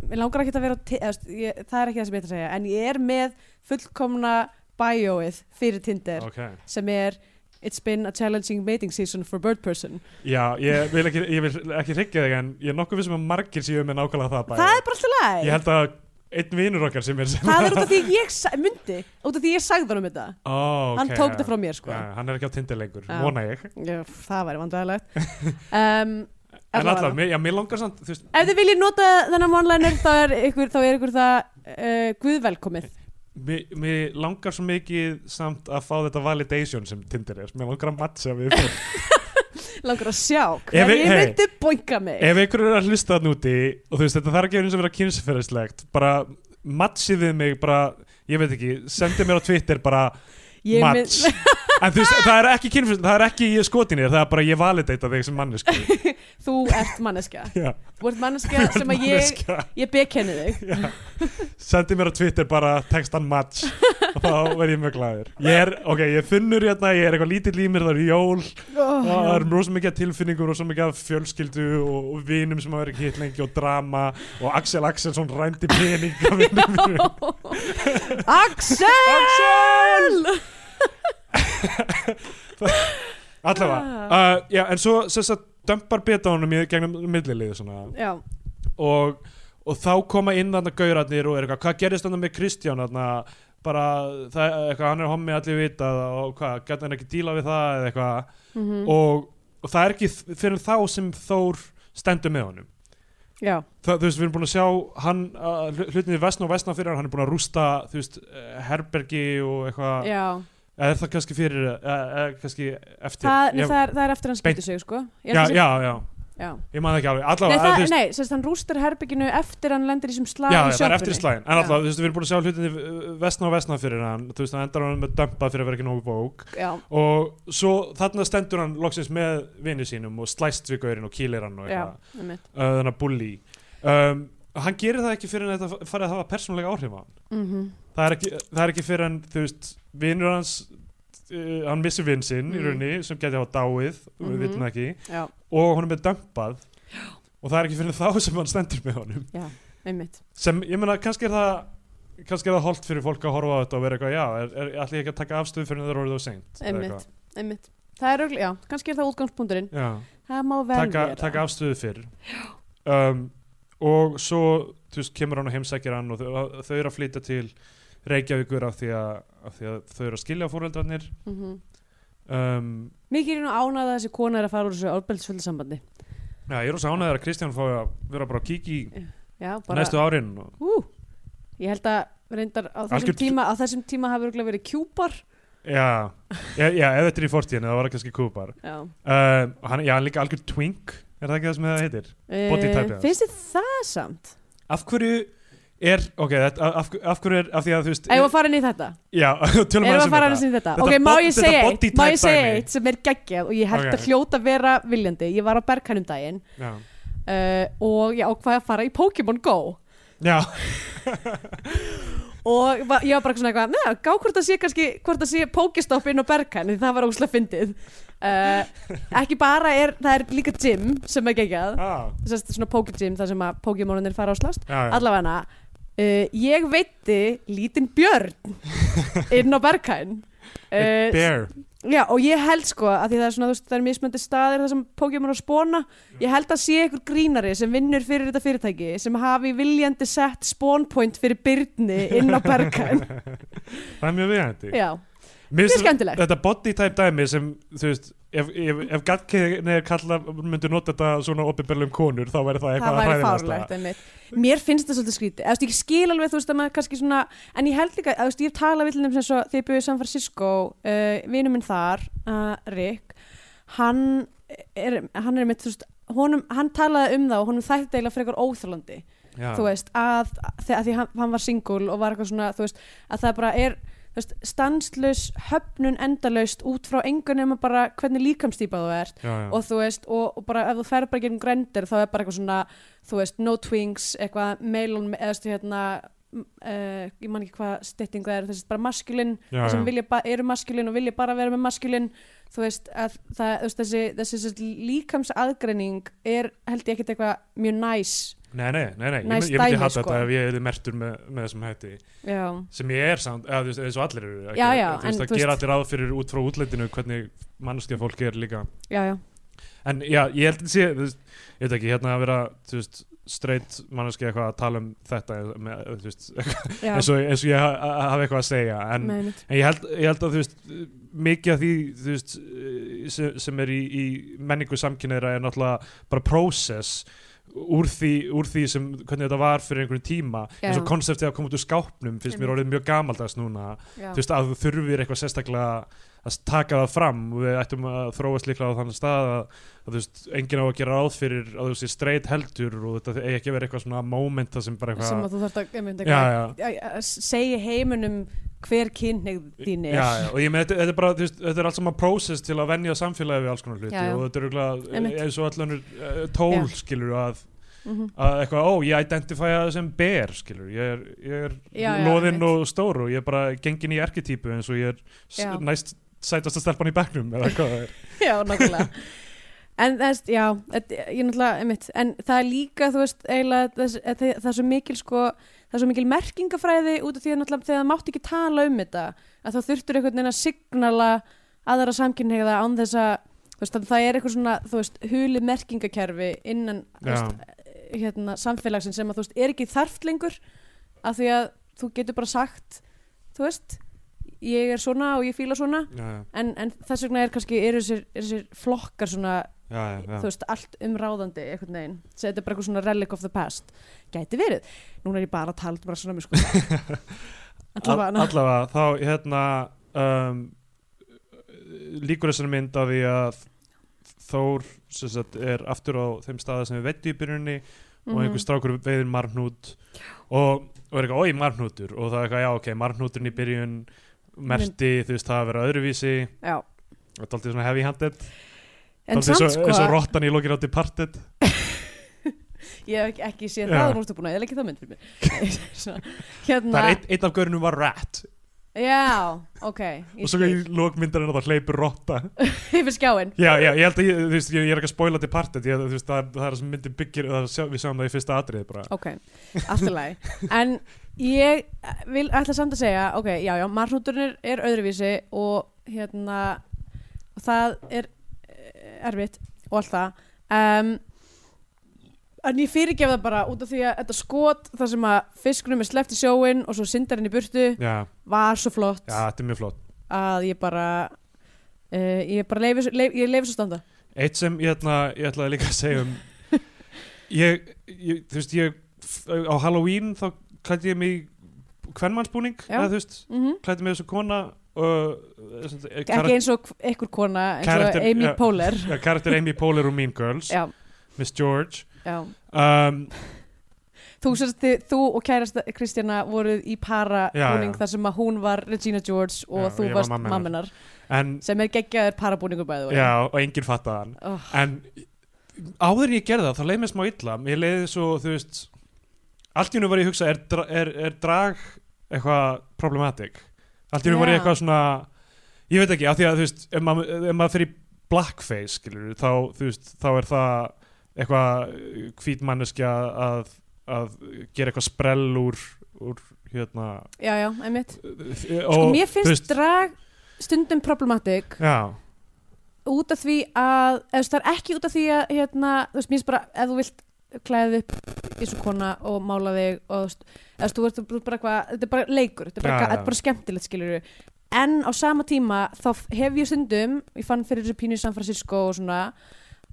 S3: mér langar ekki að vera á ti- eða, þú veist, ég, það er ekki það sem ég ætla að segja en ég er með fullkomna bioið fyrir Tinder
S2: okay.
S3: sem er It's been a challenging mating season for bird person
S2: Já, ég vil ekki, ég vil ekki hryggja þig en ég er nokkuð vissum að margir séu með nákvæmlega það bæði.
S3: Það er bara alltaf
S2: Ég
S3: læg
S2: held að einn vinur okkar sem er sem
S3: Það er út af því ég sa- mundi út af því ég sagði hann um þetta
S2: Ó, ok,
S3: Hann tók
S2: já.
S3: þetta frá mér sko
S2: Já, hann er ekki á Tinder lengur,
S3: Já.
S2: vona ég
S3: Já, það væri vandræðilegt um,
S2: En
S3: allavega.
S2: allavega, mér- já, mér langar samt þú veist,
S3: Ef þið viljið nota þennan one-liner þá er ykkur, þá er ykkur það uh, guðvelkomið
S2: mér, mér langar svo mikið samt að fá þetta validation sem Tinder er Mér langar að matcha við fólk
S3: Langar að sjá hver
S2: við-
S3: ég
S2: hey.
S3: myndi boinga mig
S2: Ef einhver er að hlusta þann úti og þú veist þetta þarf ekki eins og vera kynsferðislegt bara matchið við mig bara, ég veit ekki, sendið mér á Twitter bara
S3: Ég mynd-
S2: Mats En þú veist, það er ekki kynfyrst, það er ekki ég skotinir Það er bara ég validata þig sem mannesk
S3: Þú ert manneska
S2: Já,
S3: Þú ert manneska sem að ég
S2: manneskja.
S3: Ég bekenni þig
S2: Já. Sendi mér á Twitter bara textan match og þá verð ég mjög glæður Ég er, ok, ég er þunnur hérna, ég er eitthvað lítill í mér, það er jól og það er rosa mikið af tilfinningum, rosa mikið af fjölskyldu og, og vinum sem hafa verið hitt lengi og drama og Axel Axelsson rændi pening af vinum mínum.
S3: Axel
S2: Axel! Allavega,
S3: Ah.
S2: uh, já, en svo sess að dömpar beta honum í gegnum milliliði svona
S3: Já,
S2: og, og þá koma inn þarna gaurarnir og er eitthvað, hvað gerist þarna með Kristján þarna, bara, það, er eitthvað, hann er hommi allir vita og hvað, gæti hann ekki díla við það eða eitthvað
S3: Mhm. Mm.
S2: og, og það er ekki þ- fyrir þá sem Þór stendur með honum
S3: já,
S2: Það, þú veist, við erum búin að sjá hann, að hlu- hlutinni vestna og vestna fyrir hann, hann er búin að rústa, þú veist, eh, herbergi og eitthvað,
S3: já.
S2: eða er það kannski fyrir, eða eða kannski eftir,
S3: Það, nei,
S2: ég,
S3: það, er, það er eftir hann
S2: Beint.
S3: skýtur sig sko. Ég
S2: já,
S3: held að
S2: já, já,
S3: sé- já.
S2: ég man það ekki alveg,
S3: Nei,
S2: allavega,
S3: það,
S2: þú veist,
S3: nei, sérst, hann rústar herbygginu eftir hann lendir í sem slag
S2: já,
S3: í
S2: já, það er
S3: sjoppunni.
S2: eftir slæðin en
S3: Já.
S2: alltaf, þú veist, við erum búin að sjá hlutinni vestna og vestna fyrir hann, þú veist, það endar hann með dömpa fyrir að vera ekki nógu bók
S3: Já,
S2: og svo þarna stendur hann loksins með vinnu sínum og slæst við gaurinn og kýlir hann og
S3: já,
S2: eitthvað,
S3: einmitt.
S2: uh, þannig að bully um, hann gerir það ekki fyrir en þetta farið að hafa persónulega áhrif á hann
S3: Mhm.
S2: það er ekki, það er ekki fyrir en, þú veist, vinnur hans uh, hann missir vinn sinn í
S3: Mm.
S2: rauninni sem geti hafa dáið,
S3: Mhm.
S2: við vitum það ekki
S3: já,
S2: og hann er með dömpað og það er ekki fyrir en þá sem hann stendur með honum
S3: einmitt
S2: sem, ég meina, kannski er það kannski er það holdt fyrir fólk að horfa á þetta og vera eitthvað, já, er, er, ætli ég ekki að taka afstöðu fyrir það er orðið og seint eða
S3: Einmitt.
S2: eitthvað.
S3: einmitt, það er ögl, já, kannski er það útgangspunkturinn
S2: Já,
S3: það má vel
S2: taka,
S3: vera
S2: taka afstöðu fyrir um, og svo þú veist, kemur hann og heimsækir hann og þau, þau eru að flytja til Reykjavíkur af því að, af því að þau eru að skilja fóreldrarnir
S3: Mhm.
S2: um,
S3: mikið er nú ánað að þessi kona er að fara úr þessu árbæltisföldu sambandi
S2: Já, ég er rosa ánægður að Kristján fái að vera bara að kíkja í
S3: já, bara,
S2: næstu árin og
S3: ú, ég held að reyndar á þessum
S2: Algjört-
S3: tíma á þessum tíma hafi örugglega verið kjúpar
S2: Já, já, já ef þetta er í fortíðinu það var það kannski kúpar um,
S3: já,
S2: og hann, Já, hann er líka algjör twink er það ekki það sem það heitir? Body type, já.
S3: Eh, finnst þið það samt?
S2: af hverju er ok, þetta, af, af hverju er af því að þú veist
S3: Eða að fara inn í þetta?
S2: já, tölum
S3: Erum
S2: aðeins
S3: við að
S2: um
S3: fara
S2: þetta.
S3: aðeins í þetta?
S2: Þetta
S3: Ok, má
S2: bod-
S3: ég
S2: þetta
S3: segja
S2: body
S3: eitt, má ég
S2: type
S3: segja
S2: dæmi.
S3: eitt sem er geggjað og ég held
S2: Ok.
S3: að hljóta vera viljandi. Ég var á Berghain um daginn
S2: já,
S3: uh, og ég ákvaði að fara í Pokémon Go
S2: já,
S3: og va- ég var bara svona eitthvað, neða, gá hvort það sé kannski, hvort það sé Pokéstopp inn á Berghain því það var óslega fyndið. Uh, ekki bara er, það er líka gym sem er geggjað,
S2: já,
S3: þess að svona Pokégym þar sem að Pokémonunir fara á slást.
S2: Ah, já, já.
S3: allavega uh, ég veitti lítinn björn inn á Berghain
S2: Eitt
S3: uh,
S2: bear
S3: já, og ég held sko að því það er svona, þú veist, það er mismöndi staðir þar sem Pokémon er að spóna ég held að sé einhver grínari sem vinnur fyrir þetta fyrirtæki sem hafi viljandi sett spónpoint fyrir byrni inn á Berghain
S2: það er mjög viðhændi
S3: já,
S2: mér
S3: mjög skemmtilegt.
S2: þetta body type dæmi sem þú veist ef, ef, ef gallkynni kalla myndi nota þetta svona opinberlega um konur þá væri það
S3: það
S2: eitthvað
S3: væri
S2: hræðilegasta.
S3: fárlegt einmitt. mér finnst það svolítið skrítið, eða þú veist, ég skil alveg þú veist að maður kannski svona, en ég held líka eða, þú veist, ég hef talað við til þeim sem svo þegar ég byrjuði í San Francisco uh, vinur minn þar uh, Rick, hann er, hann er mitt, þú veist honum, hann talaði um það og honum þætti eiginlega frekar óþjólandi,
S2: Já.
S3: þú veist að, að því hann, hann var single og var eitthvað svona þú veist, að það bara er þú veist, stanslaus höfnun endalaust út frá engun nema bara hvernig líkamstýpa þú ert
S2: já, já.
S3: og þú veist, og, og bara ef þú fer bara gegnum grendir þá er bara eitthvað svona, þú veist, no twinks eitthvað mail on, eða stu hérna uh, ég man ekki hvað stytting það er, þessi bara maskulin
S2: Já, já.
S3: sem vilja ba- eru maskulin og vilja bara vera með maskulin þú veist, að það, þú veist þessi, þessi, þessi líkams aðgreining er held ég ekkert eitthvað mjög næs
S2: nei, nei, nei, nei.
S3: Nice
S2: ég, ég myndi
S3: dæmi,
S2: hata
S3: sko.
S2: þetta ef ég er mertur með, með þessum hætti
S3: já,
S2: sem ég er samt, eða, þú veist, eins og allir eru ekki,
S3: Já, já,
S2: þú veist,
S3: en
S2: það
S3: þú
S2: gera
S3: veist-
S2: allir ráð fyrir út frá útlendinu hvernig mannskja fólk er líka
S3: já, já,
S2: en já, ég held að sé þú veist, ég veit ekki, hérna að vera þú veist, straight mannskja eitthvað að tala um þetta með, þú veist,
S3: já
S2: eins, og, eins og ég ha- ha- hafi eitthvað að segja en,
S3: Nei, einmitt.
S2: en ég, held, ég held að þú veist mikið af því þú veist, sem, sem er í, í menningu samkynneira er náttúrulega bara process úr því, úr því sem hvernig þetta var fyrir einhverjum tíma
S3: Já.
S2: eins og konseptið að koma út úr skápnum finnst mér
S3: Einmitt.
S2: orðið mjög gamaldags núna
S3: já,
S2: þú veist að þú þurfir eitthvað sérstaklega að taka það fram og við ættum að þróast líklega á þann stað að, að þú veist, enginn á að gera ráð fyrir að þú sé straight heldur og þetta eigi ekki að vera eitthvað svona momenta sem bara
S3: sem að
S2: eitthvað
S3: þú þarft að, einmitt,
S2: Já,
S3: eitthvað,
S2: já.
S3: að- að segja heiminum hver kynneigð þín er
S2: Já, já, og ég með þetta, þetta er bara, þú veist, þetta er allt saman process til að venja samfélagi við alls konar hluti
S3: Já, já.
S2: og þetta er
S3: Einmitt.
S2: auðvitað eins og allanur uh, tól
S3: Já.
S2: skilur að,
S3: Mhm.
S2: að eitthvað, ó, ég identifæja sem ber skilur, ég er, ég er
S3: Já, já,
S2: loðinn og
S3: einmitt.
S2: stór og ég er bara gengin í erketýpu eins og ég er s-
S3: Já.
S2: næst sætast að stelpan í bekknum eða hvað það er
S3: Já, nákvæmlega En þess, já, þetta- ég náttúrulega einmitt, en það er líka, þú veist, eiginlega þess, það, það er svo mikil sko það er svo mikil merkingafræði út af því að náttúrulega þegar það mátti ekki tala um þetta að þá þurftur einhvern veginn að signala aðra samkynhneigða án þess að þú veist, þannig það er eitthvað svona, þú veist, hulið merkingakerfi innan þú
S2: Já.
S3: veist, hérna, samfélagsin sem að þú veist, er ekki þarft lengur af því að þú getur bara sagt þú veist, ég er svona og ég fíla svona
S2: Já, já,
S3: en, en þess vegna er kannski eru þessir, eru þessir flokkar svona,
S2: já, já, já.
S3: þú veist, allt umráðandi einhvern veginn, Svo þetta er bara eitthvað svona relic of the past gæti verið, núna er ég bara að tala bara svona mér sko
S2: All-
S3: allavega,
S2: allavega þá hérna um, líkur þessari mynd af því að Þór sem sagt, er aftur á þeim staða sem við veitum í byrjunni
S3: mhm.
S2: og einhver strákur veiðir marhnút og, og er eitthvað, oi marhnútur og það er eitthvað, já ok, marhnúturinn í byrjun merti, þú veist, það að vera öðruvísi
S3: já
S2: þetta er alltaf svona heavy handed
S3: en samt
S2: svo,
S3: sko,
S2: eins og rottan í lokin á departed
S3: ég hef ekki, ekki séð
S2: Já.
S3: það úr úrstupuna, ég legg ekki það mynd fyrir mig Svona,
S2: það
S3: hérna,
S2: er einn, einn af görunum var rat
S3: já, ok
S2: og svo í lokmyndarinn að það hleypur rotta
S3: yfir skjáin
S2: Já, já, ég held að ég, þú veist, ég, ég er ekki að spoila Departed, ég, þú veist, það, er- það er það sem myndin byggir, það, er- sjá- við sjáum það í fyrsta atriði bara.
S3: ok, allt í lagi en ég vil ætla samt að segja ok, já, já, marhnúturinn er, er öðruvísi og hérna og það er eh, erfitt og allt það um, en ég fyrirgef það bara út af því að þetta skot þar sem að fiskunum er sleppt í sjóin og svo syndar henni í burtu
S2: Já,
S3: var svo flott
S2: já, þetta er mjög flott.
S3: að ég bara uh, ég bara leifi, leif, ég leifi svo standa
S2: Eitt sem ég, ætla, ég ætlaði líka að segja um, ég, ég, þú veist, ég, f- á Halloween þá klætti ég mig í kvenmannsbúning,
S3: Já.
S2: eða þú veist,
S3: mm
S2: klætti mig þessu kona, uh,
S3: ekki eins og einhver kona eins og
S2: Karakter-
S3: Amy
S2: já.
S3: Poehler
S2: Ja, karakter Amy Poehler úr Mean Girls,
S3: já,
S2: Miss George.
S3: já
S2: Um,
S3: Þú, sérst, þið, þú og kærasta Kristjana voruð í para
S2: Já,
S3: búning
S2: já.
S3: þar sem að hún var Regina George og
S2: Já,
S3: þú
S2: ég var
S3: varst
S2: mamma hennar.
S3: mamminar
S2: en,
S3: sem er geggjaður para búningur bæði
S2: já, og enginn fattaði hann.
S3: oh,
S2: en áður en ég gerði það þá leið mér smá illa ég leiði svo þú veist allt í hennu var ég að hugsa er, dra- er, er drag eitthvað problematic allt í hennu var ég
S3: Já.
S2: eitthvað svona ég veit ekki af því að þú veist ef maður, ef maður fyrir blackface skilur þá þú veist þá er það eitthvað hvít manneskja að, að gera eitthvað sprell úr, úr hérna
S3: já, já, einmitt
S2: sko
S3: Sko mér finnst drag stundum problematic
S2: já,
S3: út af því að eða þú veist, það er ekki út af því að hérna, þú veist, mér finnst bara ef þú vilt klæðið upp eins og kona og mála þig og þú veist, eða þú veist, þú ert- þú ert bara eitthvað þetta er bara leikur, þetta er bara,
S2: Já,
S3: ja,
S2: já.
S3: bara skemmtilegt skilur en á sama tíma þá f- hef ég stundum, ég fann fyrir þessu pínu í San Francisco og svona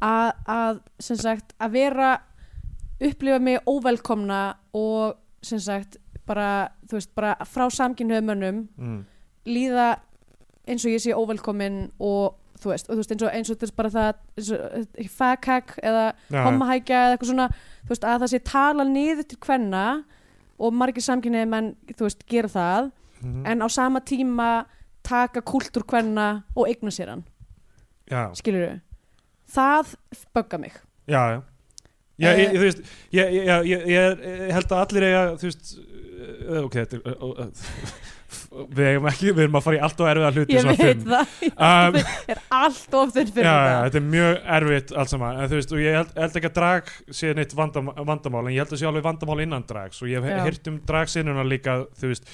S3: að, að sem sagt, að vera upplifa mig óvelkomna og sem sagt bara, þú veist, bara frá samkynhauð mönnum
S2: mm,
S3: líða eins og ég sé óvelkomin og þú veist, og þú veist eins og, eins og þetta er bara það eins og fagkak eða
S2: já,
S3: hommahækja eða eitthvað svona þú veist, að það sé tala niður til kvenna og margir samkynniði menn þú veist, gera það
S2: mhm,
S3: en á sama tíma taka kúltúr kvenna og eigna sér hann,
S2: já.
S3: skilur við það bögga mig
S2: já, já Já,
S3: Eh,
S2: ég, ég, þú veist, ég, ég, ég, ég, ég er- ég held að allir eiga, þú veist, eh, ok, þetta er, eh, eh, við eigum ekki, við erum að fara í allt og erfiða hluti
S3: ég
S2: svona
S3: veit
S2: fimm.
S3: það,
S2: Um,
S3: ég er allt of þurr
S2: já,
S3: fyrir
S2: já,
S3: þetta
S2: þetta er mjög erfitt allt saman, en þú veist, og ég held, held ekki að drag sé neitt vandam, vandamál, en ég held að sé alveg vandamál innan drags og ég hef
S3: Já.
S2: heyrt um dragsinnuna líka, þú veist,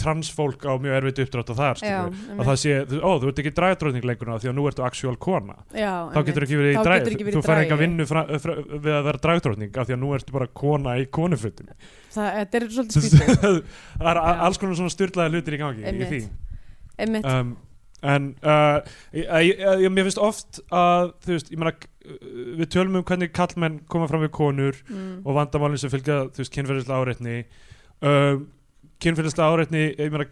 S2: transfólk á mjög erfitt uppdrátt á þar, skilur við, að
S3: já,
S2: það sé, þú- ó, þú ert ekki dragdrótning lengurna því að nú ertu actual kona
S3: já,
S2: þá getur ekki verið í
S3: Þá
S2: drag
S3: getur ekki verið í
S2: þú fær
S3: dragi.
S2: enga vinnu fra, fra, við að vera dragdrótning af því að nú ertu bara kona í konufötum
S3: það, þetta er svolítið skrítið
S2: það er a-
S3: Já.
S2: alls konar svona styrlaða hlutir í gangi í
S3: Einmitt.
S2: því
S3: einmitt,
S2: um, en uh, ég, ég, ég, mér finnst oft að þú veist, ég meina uh, við tölum um hvernig kallmenn koma fram við konur
S3: mm,
S2: og vandamálinn sem fylgja þú veist, kynferðislega áreitni um, kynfyrðislega áreitni ég meina,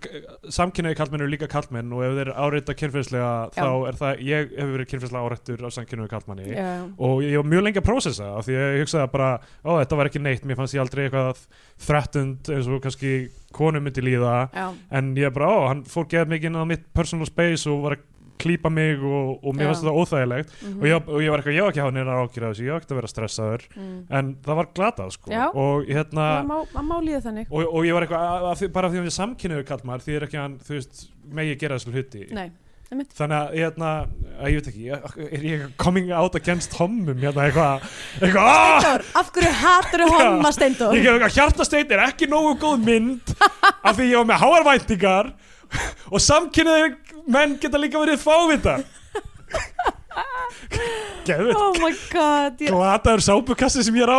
S2: samkynnaði kallmenn eru líka kallmenn og ef þeir áreita kynfyrðislega
S3: Já.
S2: þá er það, ég hefur verið kynfyrðislega áreittur af samkynnaði kallmanni
S3: Já.
S2: og ég var mjög lengi að prósessa af því að ég hugsaði bara, ó þetta var ekki neitt mér fannst ég aldrei eitthvað þrættund eins og kannski konu myndi líða
S3: Já.
S2: en ég bara, ó, hann fór geðað mikið inn á mitt personal space og var að klípa mig og, og mér
S3: Já.
S2: fannst það óþægilegt
S3: mhm,
S2: og, ég, og ég var eitthvað, ég á ekki að hafa neina ágjur af þessu ég á ekki að vera stressaður
S3: mm.
S2: en það var glatað sko
S3: Já.
S2: og hérna
S3: Það má, það má líða þannig
S2: og, og ég var eitthvað, að, að, því- bara af því að ég samkynniður kall maður því er ekki að hann, þú veist, megi gera þessu hluti
S3: Nei,
S2: þannig að, hérna, að ég veit ekki ég, er ég coming out against homum hérna eitthvað, eitthvað aah!
S3: Steindór, af hverju hattur þú homma Steindór?
S2: ég gef eitthvað hjartasteinn er ekki nógu góð mynd af því ég var með háarvæntingar og samkynniður menn geta líka verið fávita geðvitt
S3: Oh my god, ég,
S2: glataður sápukassi sem ég er á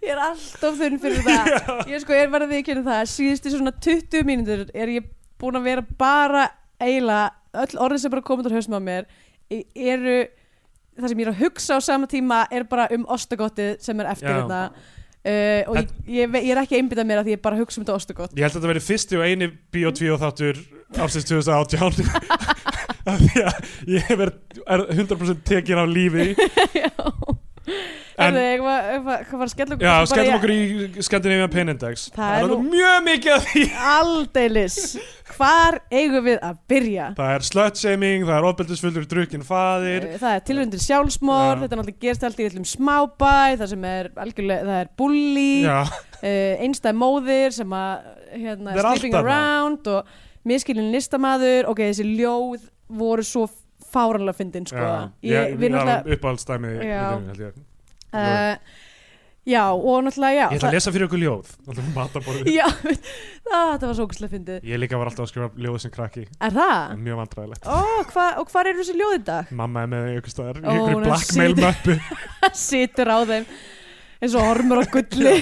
S3: ég er alltof þunn fyrir það Ég sko, ég er verðið ekki það Síðustu svona 20 mínútur er ég búin að vera bara eila Öll orðið sem bara komið úr hausnum á mér e- eru Það sem ég er að hugsa á sama tíma er bara um ostagottið sem er eftir
S2: Já.
S3: þetta uh, Og ég, ég, ve- ég er ekki einbyttað mér að því ég bara hugsa um þetta ostagott
S2: Ég held að þetta verið fyrsti og eini Bíó 2 þáttur ársins 2018 af því að ég hef verið er 100% tekin af lífi
S3: Já
S2: En-
S3: En eitthvað, eitthvað, hvað var að skella okkur
S2: Já,
S3: Bara
S2: skellum
S3: ég-
S2: okkur í Scandinavian Penindex
S3: Það er nú-
S2: mjög mikið af því
S3: Aldeilis, hvar eigum við að byrja?
S2: Það er slutshaming, það er ofbeldisfullur drukkin faðir
S3: Eh, Það er tilröndir sjálfsmór,
S2: Já.
S3: þetta er náttúrulega gerst allt í öllum smábæ, það sem er algjörlega, það er bully, uh,
S2: Já,
S3: einstæð móðir sem að, hérna,
S2: Það er
S3: sleeping
S2: allt þarna.
S3: around og miskilin listamaður, ok, þessi ljóð voru svo fáranlega fyndin, sko.
S2: já
S3: ég, við náttúrulega,
S2: uppáhaldsdæmi í
S3: Já.
S2: myndinni, held ég.
S3: uh, já, og náttúrulega, já.
S2: Ég ætla að lesa fyrir okkur ljóð Náttúrulega matarborðið.
S3: Já, það, það var svo okkurslega fyndið.
S2: Ég líka var alltaf að skrifa ljóð sem krakki
S3: Er það?
S2: Mjög vandræðilegt
S3: Ó, hva, og hvar eru þessi ljóð í dag?
S2: Mamma er með þau ykkur staðar
S3: Ó,
S2: Í ykkur
S3: hún er
S2: blackmail
S3: síðan-
S2: möppu
S3: situr á þeim eins og hormur á gulli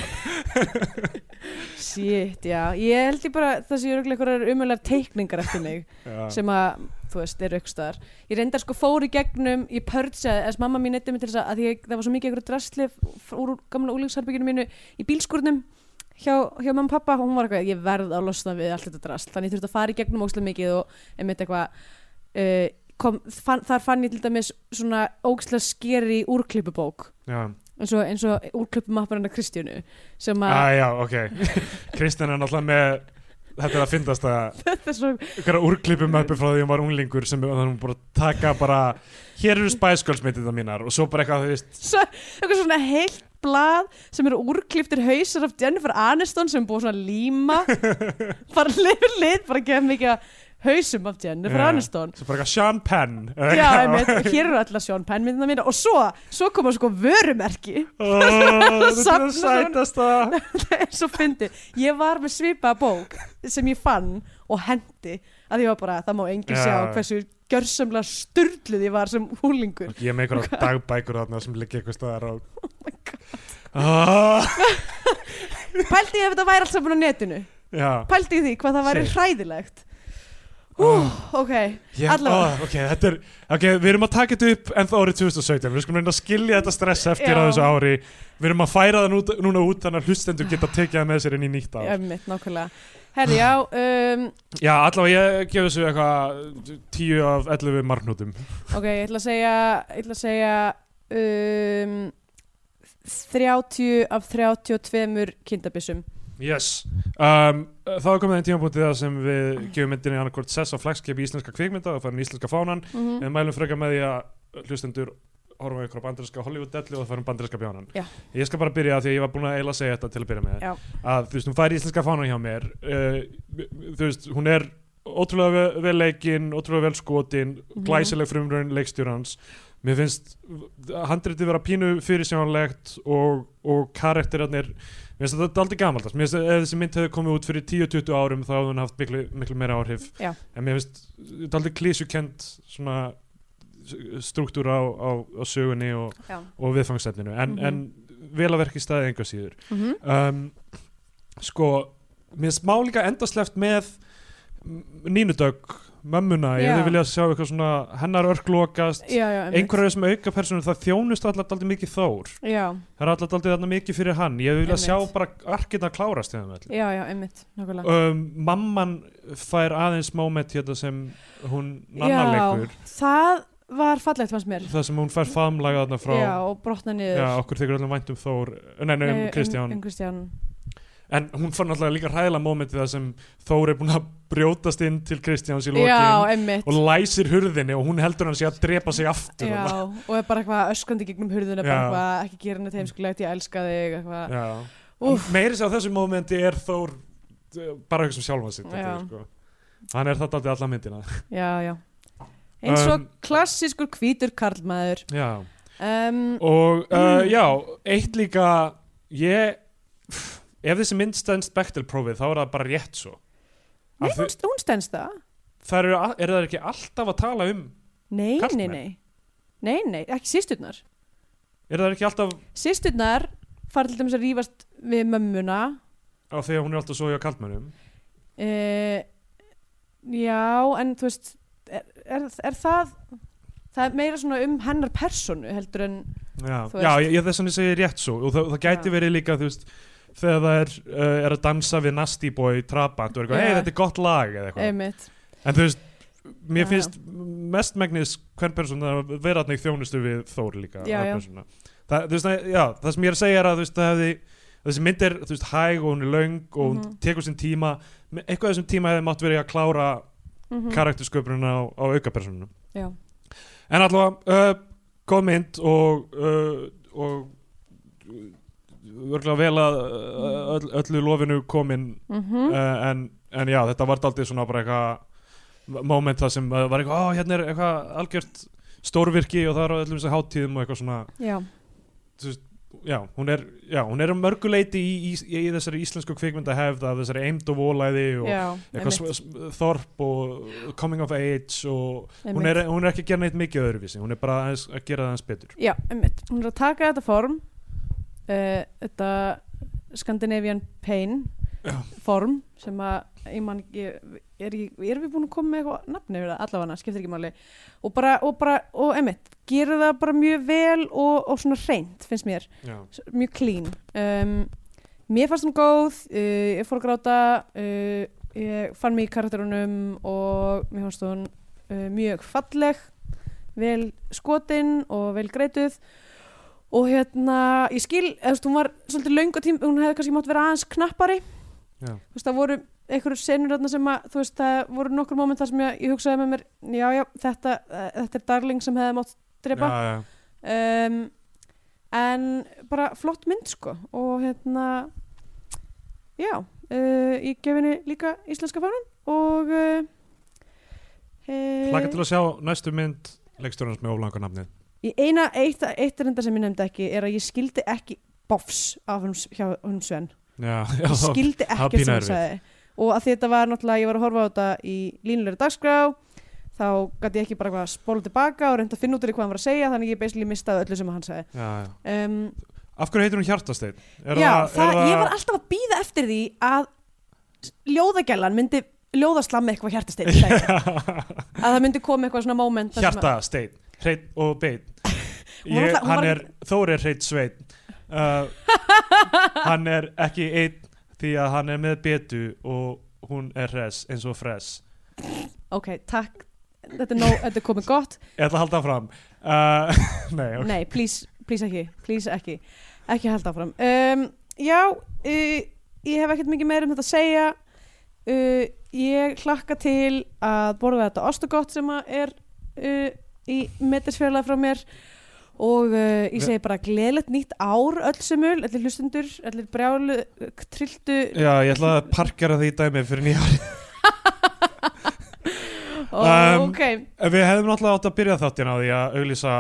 S3: Shit, já Ég held ég bara það séu einhverjar umjöðlega teikningar eftir mig
S2: Já.
S3: sem að, þú veist, eru ykkur staðar Ég reyndar sko fór í gegnum, ég pörtsaði þess mamma mín neytti mig til þess að, að ég, það var svo mikið einhverju drastli f- úr gamla úlíksherbygginu mínu í bílskúrnum hjá, hjá mamma og pappa og hún var eitthvað, ég verð að losna við allt þetta drast þannig ég þurfti að fara í gegnum ókslega mikið og einmitt eitthvað uh, kom, fann, þar fann ég til dæmis svona ókslega skeri úrklippubók
S2: Já
S3: eins og, eins og úrklöpumappan hennar Kristjánu sem að
S2: Ah, já, ok. Kristján er náttúrulega með þetta er að fyndast að
S3: þetta er svo
S2: einhverja úrklipum uppi frá því hún var unglingur sem þannig hún bara taka bara hér eru Spice Girls myndirna mínar og svo bara eitthvað þú veist
S3: svo, eitthvað svona heilt blað sem eru úrkliftir hausar af Jennifer Aniston sem er búið svona að líma bara lifið lit, bara gefa mikið af hausum af Jennifer
S2: Já.
S3: Aniston
S2: svo bara eitthvað Sean Penn eða
S3: Já,
S2: eitthvað.
S3: einmitt, og hér eru allar Sean Penn myndina mína og svo, svo koma sko vörumerki
S2: Ó, Þetta er
S3: Safna
S2: að
S3: saman.
S2: sætast að
S3: það er svo fyndi, ég var með svipaða bók sem ég fann og hendi að ég var bara, það má enginn
S2: Já.
S3: sjá hversu gjörsamlega sturdluð ég var sem húlingur
S2: Ég er með einhverja dagbækur þarna sem liggja eitthvað staðar á
S3: Oh
S2: Ah,
S3: Pældi ég ef þetta væri allt saman á netinu
S2: Já,
S3: pældi í því hvað það væri
S2: Shit.
S3: hræðilegt Hú,
S2: Ah.
S3: ok
S2: ég,
S3: Allavega.
S2: ó, ah, ok, þetta er ok, við erum að taka þetta upp en það árið 2017 við skulum reyna að skilja þetta stress eftir
S3: Já.
S2: á þessu ári við erum að færa það nú, núna út þannig að hlustendur geta tekið það með sér inn í nýtt ár
S3: Ömmit, nákvæmlega Herri, já, um,
S2: Já, allavega ég gef þessu eitthvað 10 af 11 margnútum
S3: ok, ég ætla að segja ég ætla að segja um, 30 af 32 kindabissum
S2: Yes um, Þá er komið einn tímapunktið það sem við gefum myndinni annarkvort sess á flagskipi íslenska kvikmynda og farum íslenska fánan
S3: mm
S2: en mælum frekar með því að hlustendur horfum við ykkur á bandarinska Hollywood-dellu og farum bandarinska bjánan
S3: Já.
S2: Ég skal bara byrja af því að ég var búin að eila að segja þetta til að byrja með
S3: Já.
S2: að þú veist, hún fær íslenska fánan hjá mér uh, þú veist, hún er ótrúlega ve- vel leikinn, ótrúlega vel skotin
S3: Mhm.
S2: glæsileg frumrun leikstjórans mér finnst handritið vera pínu fyrirsjánlegt og, og karakterarnir mér finnst þetta aldrei gamaldags mér finnst að ef þessi mynd hefði komið út fyrir 10-20 árum þá hefði hún haft miklu, miklu meira áhrif
S3: Já.
S2: en mér finnst þetta aldrei klísjukent svona struktúra á, á, á sögunni og,
S3: Já
S2: og viðfangsefninu en,
S3: Mhm.
S2: en vel að verki staðið enga síður
S3: mm -hmm.
S2: um, sko mér smá líka endasleft með Nínu Dögg mömmuna, ég
S3: Já.
S2: hefði viljað sjá eitthvað svona hennar örglokast
S3: já, já, einmitt.
S2: einhverjar sem auka personu, það þjónust allar daldið mikið þór,
S3: já,
S2: það er allar daldið þarna mikið fyrir hann, ég hefði viljað sjá
S3: Einmitt.
S2: bara arkirna klárast í þeim öll
S3: já, já, einmitt nákvæmlega
S2: um, mamman fær aðeins moment hérna sem hún nannaleikur,
S3: já, það var fallegt fannst mér
S2: það sem hún fær faðmlaga þarna frá,
S3: já, og brotna niður
S2: já, okkur þykir öllum vænt um Þór, nei, nei, um
S3: Nei,
S2: Kristján
S3: um, um Kristján.
S2: en hún fann alltaf líka hræðilega momentið það sem Þór er búin að brjótast inn til Kristjáns í
S3: já,
S2: lokin
S3: einmitt
S2: og læsir hurðinni og hún heldur hann sé að drepa sig aftur
S3: Já,
S2: þarna.
S3: og er bara eitthvað öskandi gegnum hurðuna bara
S2: Já.
S3: eitthvað, ekki gera henni teimskulegt, ég elska þig eitthvað,
S2: Já.
S3: Úff.
S2: meiri sér á þessu momenti er Þór eh, bara eitthvað sem sjálfan sitt þetta
S3: Já.
S2: er, sko. hann er þetta aldrei alla myndina
S3: já, já eins og
S2: Um,
S3: klassískur hvítur karlmaður
S2: já.
S3: um,
S2: og uh,
S3: Mm.
S2: já, eitt líka ég ef þessi mynd stendst Bechtel-prófið þá er það bara rétt svo
S3: Nei,
S2: Af
S3: hún,
S2: því-
S3: hún stendst það
S2: þær eru, a- eru það ekki alltaf að tala um
S3: Nei, nei,
S2: Karlmenn?
S3: nei Nei, nei, ekki sýsturnar
S2: eru það ekki alltaf
S3: Sýsturnar fara til dæmis að rífast við mömmuna
S2: á því að hún er alltaf svo hjá kaldmönnum
S3: uh, Já, en þú veist er, er, er það það er meira svona um hennar personu heldur en
S2: Já,
S3: Þú
S2: já
S3: veist.
S2: ég, ég þess að ég segi rétt svo og það, það gæti
S3: Já.
S2: verið líka þú veist þegar það er, uh, er að dansa við Nasty Boy trabant og er eitthvað,
S3: Já.
S2: hei þetta er gott lag eða eitthvað
S3: einmitt
S2: en þú veist,
S3: Já,
S2: mér finnst mest megnis hvern person að vera þarna í þjónustu við Þór líka
S3: Já,
S2: að
S3: já.
S2: persóna. það, þú veist, það- já, það sem ég er að segja er að þú veist, það hefði þessi mynd er þú veist, hæg og hún er löng og hún
S3: Mhm.
S2: tekur sinn tíma Me- eitthvað af þessum tíma hefði mátt verið að klára
S3: mm
S2: karaktersköpununa á, á aukapersonunum
S3: Já,
S2: En allavega, uh, góð mynd og, uh, og örgulega vel að uh, öll, öllu lofinu komin
S3: mhm
S2: uh, en, en já, þetta var daldið svona bara eitthvað moment það sem uh, var eitthvað, ó, hérna er eitthvað algjört stórvirki og það er á öllum þessum hátíðum og eitthvað svona,
S3: Já,
S2: já, hún er, já, hún er um mörguleiti í, í, í, í þessari íslensku kvikmynda hefð af þessari eimd og volæði og
S3: já,
S2: eitthvað
S3: einmitt,
S2: s- s- þorp og coming of age og hún
S3: einmitt.
S2: er, hún er ekki að gera neitt mikið öðruvísi, hún er bara aðeins, að gera það aðeins betur
S3: Já, einmitt. Hún er að taka þetta form uh, þetta Scandinavian Pain
S2: Já.
S3: form sem að ég man ekki, er, ekki- erum við búin að koma með eitthvað nafni yfir það, allavega, skiptir ekki máli og bara, og bara, og einmitt gera það bara mjög vel og, og svona reynt, finnst mér,
S2: já,
S3: S- mjög clean um, Mér fannst hún góð uh, ég fór að gráta uh, ég fann mig í karakterunum og mér fannst hún uh, mjög falleg vel skotinn og vel greituð og hérna, ég skil eða, þú veist, hún var svolítið löngu tím hún hefði kannski mátt vera aðeins knappari
S2: Já.
S3: þú veist, það voru einhverjur senur þarna sem að, þú veist, það voru nokkur moment þar sem ég, ég hugsaði með mér, já, já, þetta eh, þetta er darling sem hefði mátt drepa
S2: já, já.
S3: um, en bara flott mynd, sko og hérna já, uh, ég gef henni líka íslenska fánum og uh, eh,
S2: Laka til að sjá næstu mynd leikstjórnans með oflanga nafnið
S3: Í eina, eitt, eitt reynda sem ég nefndi ekki er að ég skildi ekki bofs af hún, hjá hún Sven.
S2: já, já,
S3: Ég
S2: þá-
S3: skildi
S2: það var
S3: ekkert
S2: pínu
S3: sem hún
S2: erfitt.
S3: sagði. Og að því þetta var náttúrulega, ég var að horfa á þetta í línulegri dagskrá, þá gæti ég ekki bara eitthvað að spóla tilbaka og reynda að finna út úr því hvað hann var að segja, þannig ég basically mistaði öllu sem hann sagði.
S2: já, já.
S3: Um,
S2: af hverju heitir hún Hjartasteinn? Er
S3: já,
S2: það-
S3: það,
S2: er það-
S3: ég var alltaf að býða eftir því að ljóðagjallan myndi ljóðaslammi eitthvað hjartasteinn í dag. að um það myndi koma eitthvað svona moment þar sem að-
S2: Hjartasteinn, hreitt og beitt
S3: Hún
S2: ég,
S3: var alltaf- hún
S2: hann
S3: var-
S2: er, Þór er hreitt sveit uh, hann er ekki einn því að hann er með betu og hún er res eins og fres
S3: ok, takk, þetta er, nóg, þetta er komið gott
S2: ég ætla að halda fram uh, nei, ok
S3: Nei, please, please ekki, please ekki ekki halda áfram um, Já, uh, ég hef ekkert mikið meira um þetta að segja uh, ég hlakka til að borða þetta ostugott sem að er uh, í metisfjörlega frá mér og uh, ég segi bara gleðilegt nýtt ár öll semul, öllir hlustundur, öllir brjálu trilltu
S2: Já, ég ætla að parkera því dæmi fyrir nýja ári.
S3: og
S2: um,
S3: ok,
S2: Við hefðum náttúrulega átt að byrja þáttin á því að auglýsa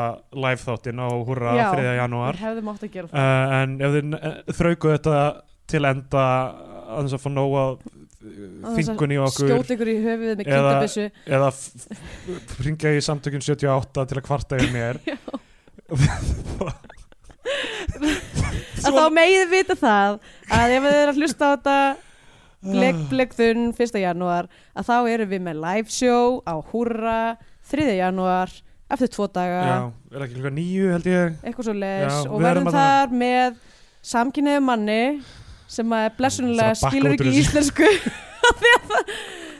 S2: live þáttin á Húrra
S3: Já.
S2: 3. janúar.
S3: við hefðum átt að gera það
S2: Uh, en ef þið eh, þraukuð þetta til enda að þess að fá nóg að
S3: þess að
S2: þingunni okkur
S3: skjóta ykkur í höfuðið með
S2: Eða-
S3: kindabissu
S2: eða f- f- ringja í samtökjum 78 til að kvarta yfir mér.
S3: að þá megið þið vita það að ef þið eru að hlusta á þetta bleg,
S2: Ah.
S3: blegðun 1. janúar að þá erum við með live show á Húrra 3. janúar eftir tvo daga
S2: Já, er ekki klukka nýju held ég
S3: eitthvað svo les
S2: Já,
S3: og
S2: við erum
S3: verðum
S2: að- um-
S3: þar með samkynniðu manni sem að blessunulega
S2: Þess að bakka út
S3: skilur
S2: úr
S3: ekki
S2: þessu.
S3: íslensku Af því að það,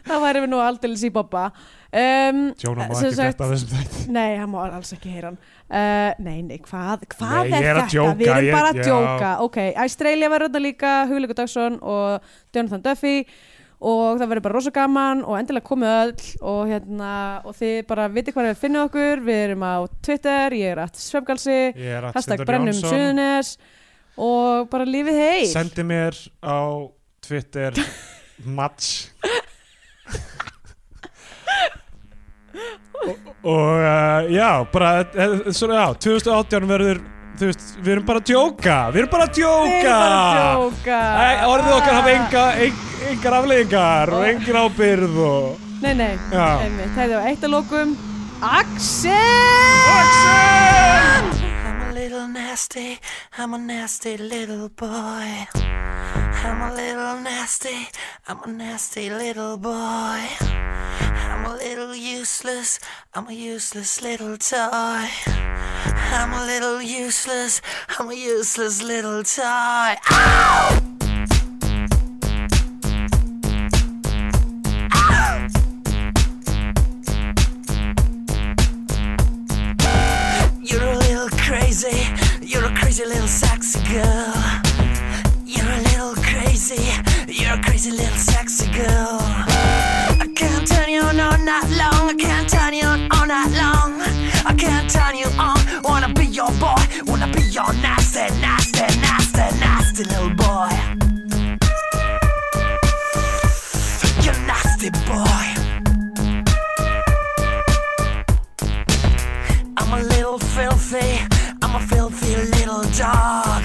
S3: það væri við nú aldeilis í bobba um,
S2: Tjóna má
S3: Sem
S2: ekki
S3: sagt-
S2: frétta af þessum þætt
S3: Nei, hann má alls ekki heyra hann uh, Nei, nei, hvað, hvað
S2: Nei, ég
S3: er,
S2: er að
S3: þetta?
S2: djóka,
S3: Við erum
S2: ég-
S3: bara að
S2: já.
S3: djóka Ok, Australia verður þetta líka Hugleikur Dagsson og Jonathan Duffy og það verður bara rosa gaman og endilega komið öll og, hérna, og þið bara vitið hvað er að finna okkur Við erum á Twitter, ég er að svefgalsi
S2: Ég er að
S3: Hashtag
S2: Sindar
S3: brennum
S2: Jónsson.
S3: suðunis og bara lífið heil
S2: Sendi mér á Twitter Mats Og, og uh, já, bara eh, Svona já, 2018 verður Þú veist, við erum bara að djóka Við erum bara að djóka
S3: Við erum bara að djóka.
S2: Æ, Orðið okkar hafa enga, en, engar afleggingar Og engin ábyrð og
S3: Nei, nei,
S2: Já.
S3: einmitt, það er eitt að lokum Axel!
S2: Axel!
S4: I'm a little nasty, I'm a nasty little boy. I'm a little nasty, I'm a nasty little boy. I'm a little useless, I'm a useless little toy. I'm a little useless, I'm a useless little toy. Ow! You're a little crazy. You're a crazy little sexy girl. You're a little crazy. You're a crazy little sexy girl. I can't turn you on all night long. I can't turn you on all night long. I can't turn you on. Wanna be your boy. Wanna be your nasty, nasty, nasty, nasty little boy. You're nasty boy. I'm a little filthy. I'm a filthy little dog.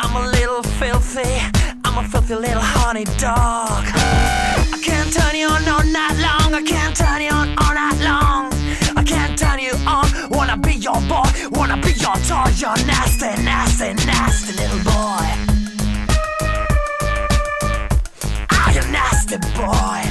S4: I'm a little filthy. I'm a filthy little honey dog. I can't turn you on all night long. I can't turn you on all night long. I can't turn you on. Wanna be your boy. Wanna be your toy. You're nasty, nasty, nasty little boy. Ah, you nasty boy.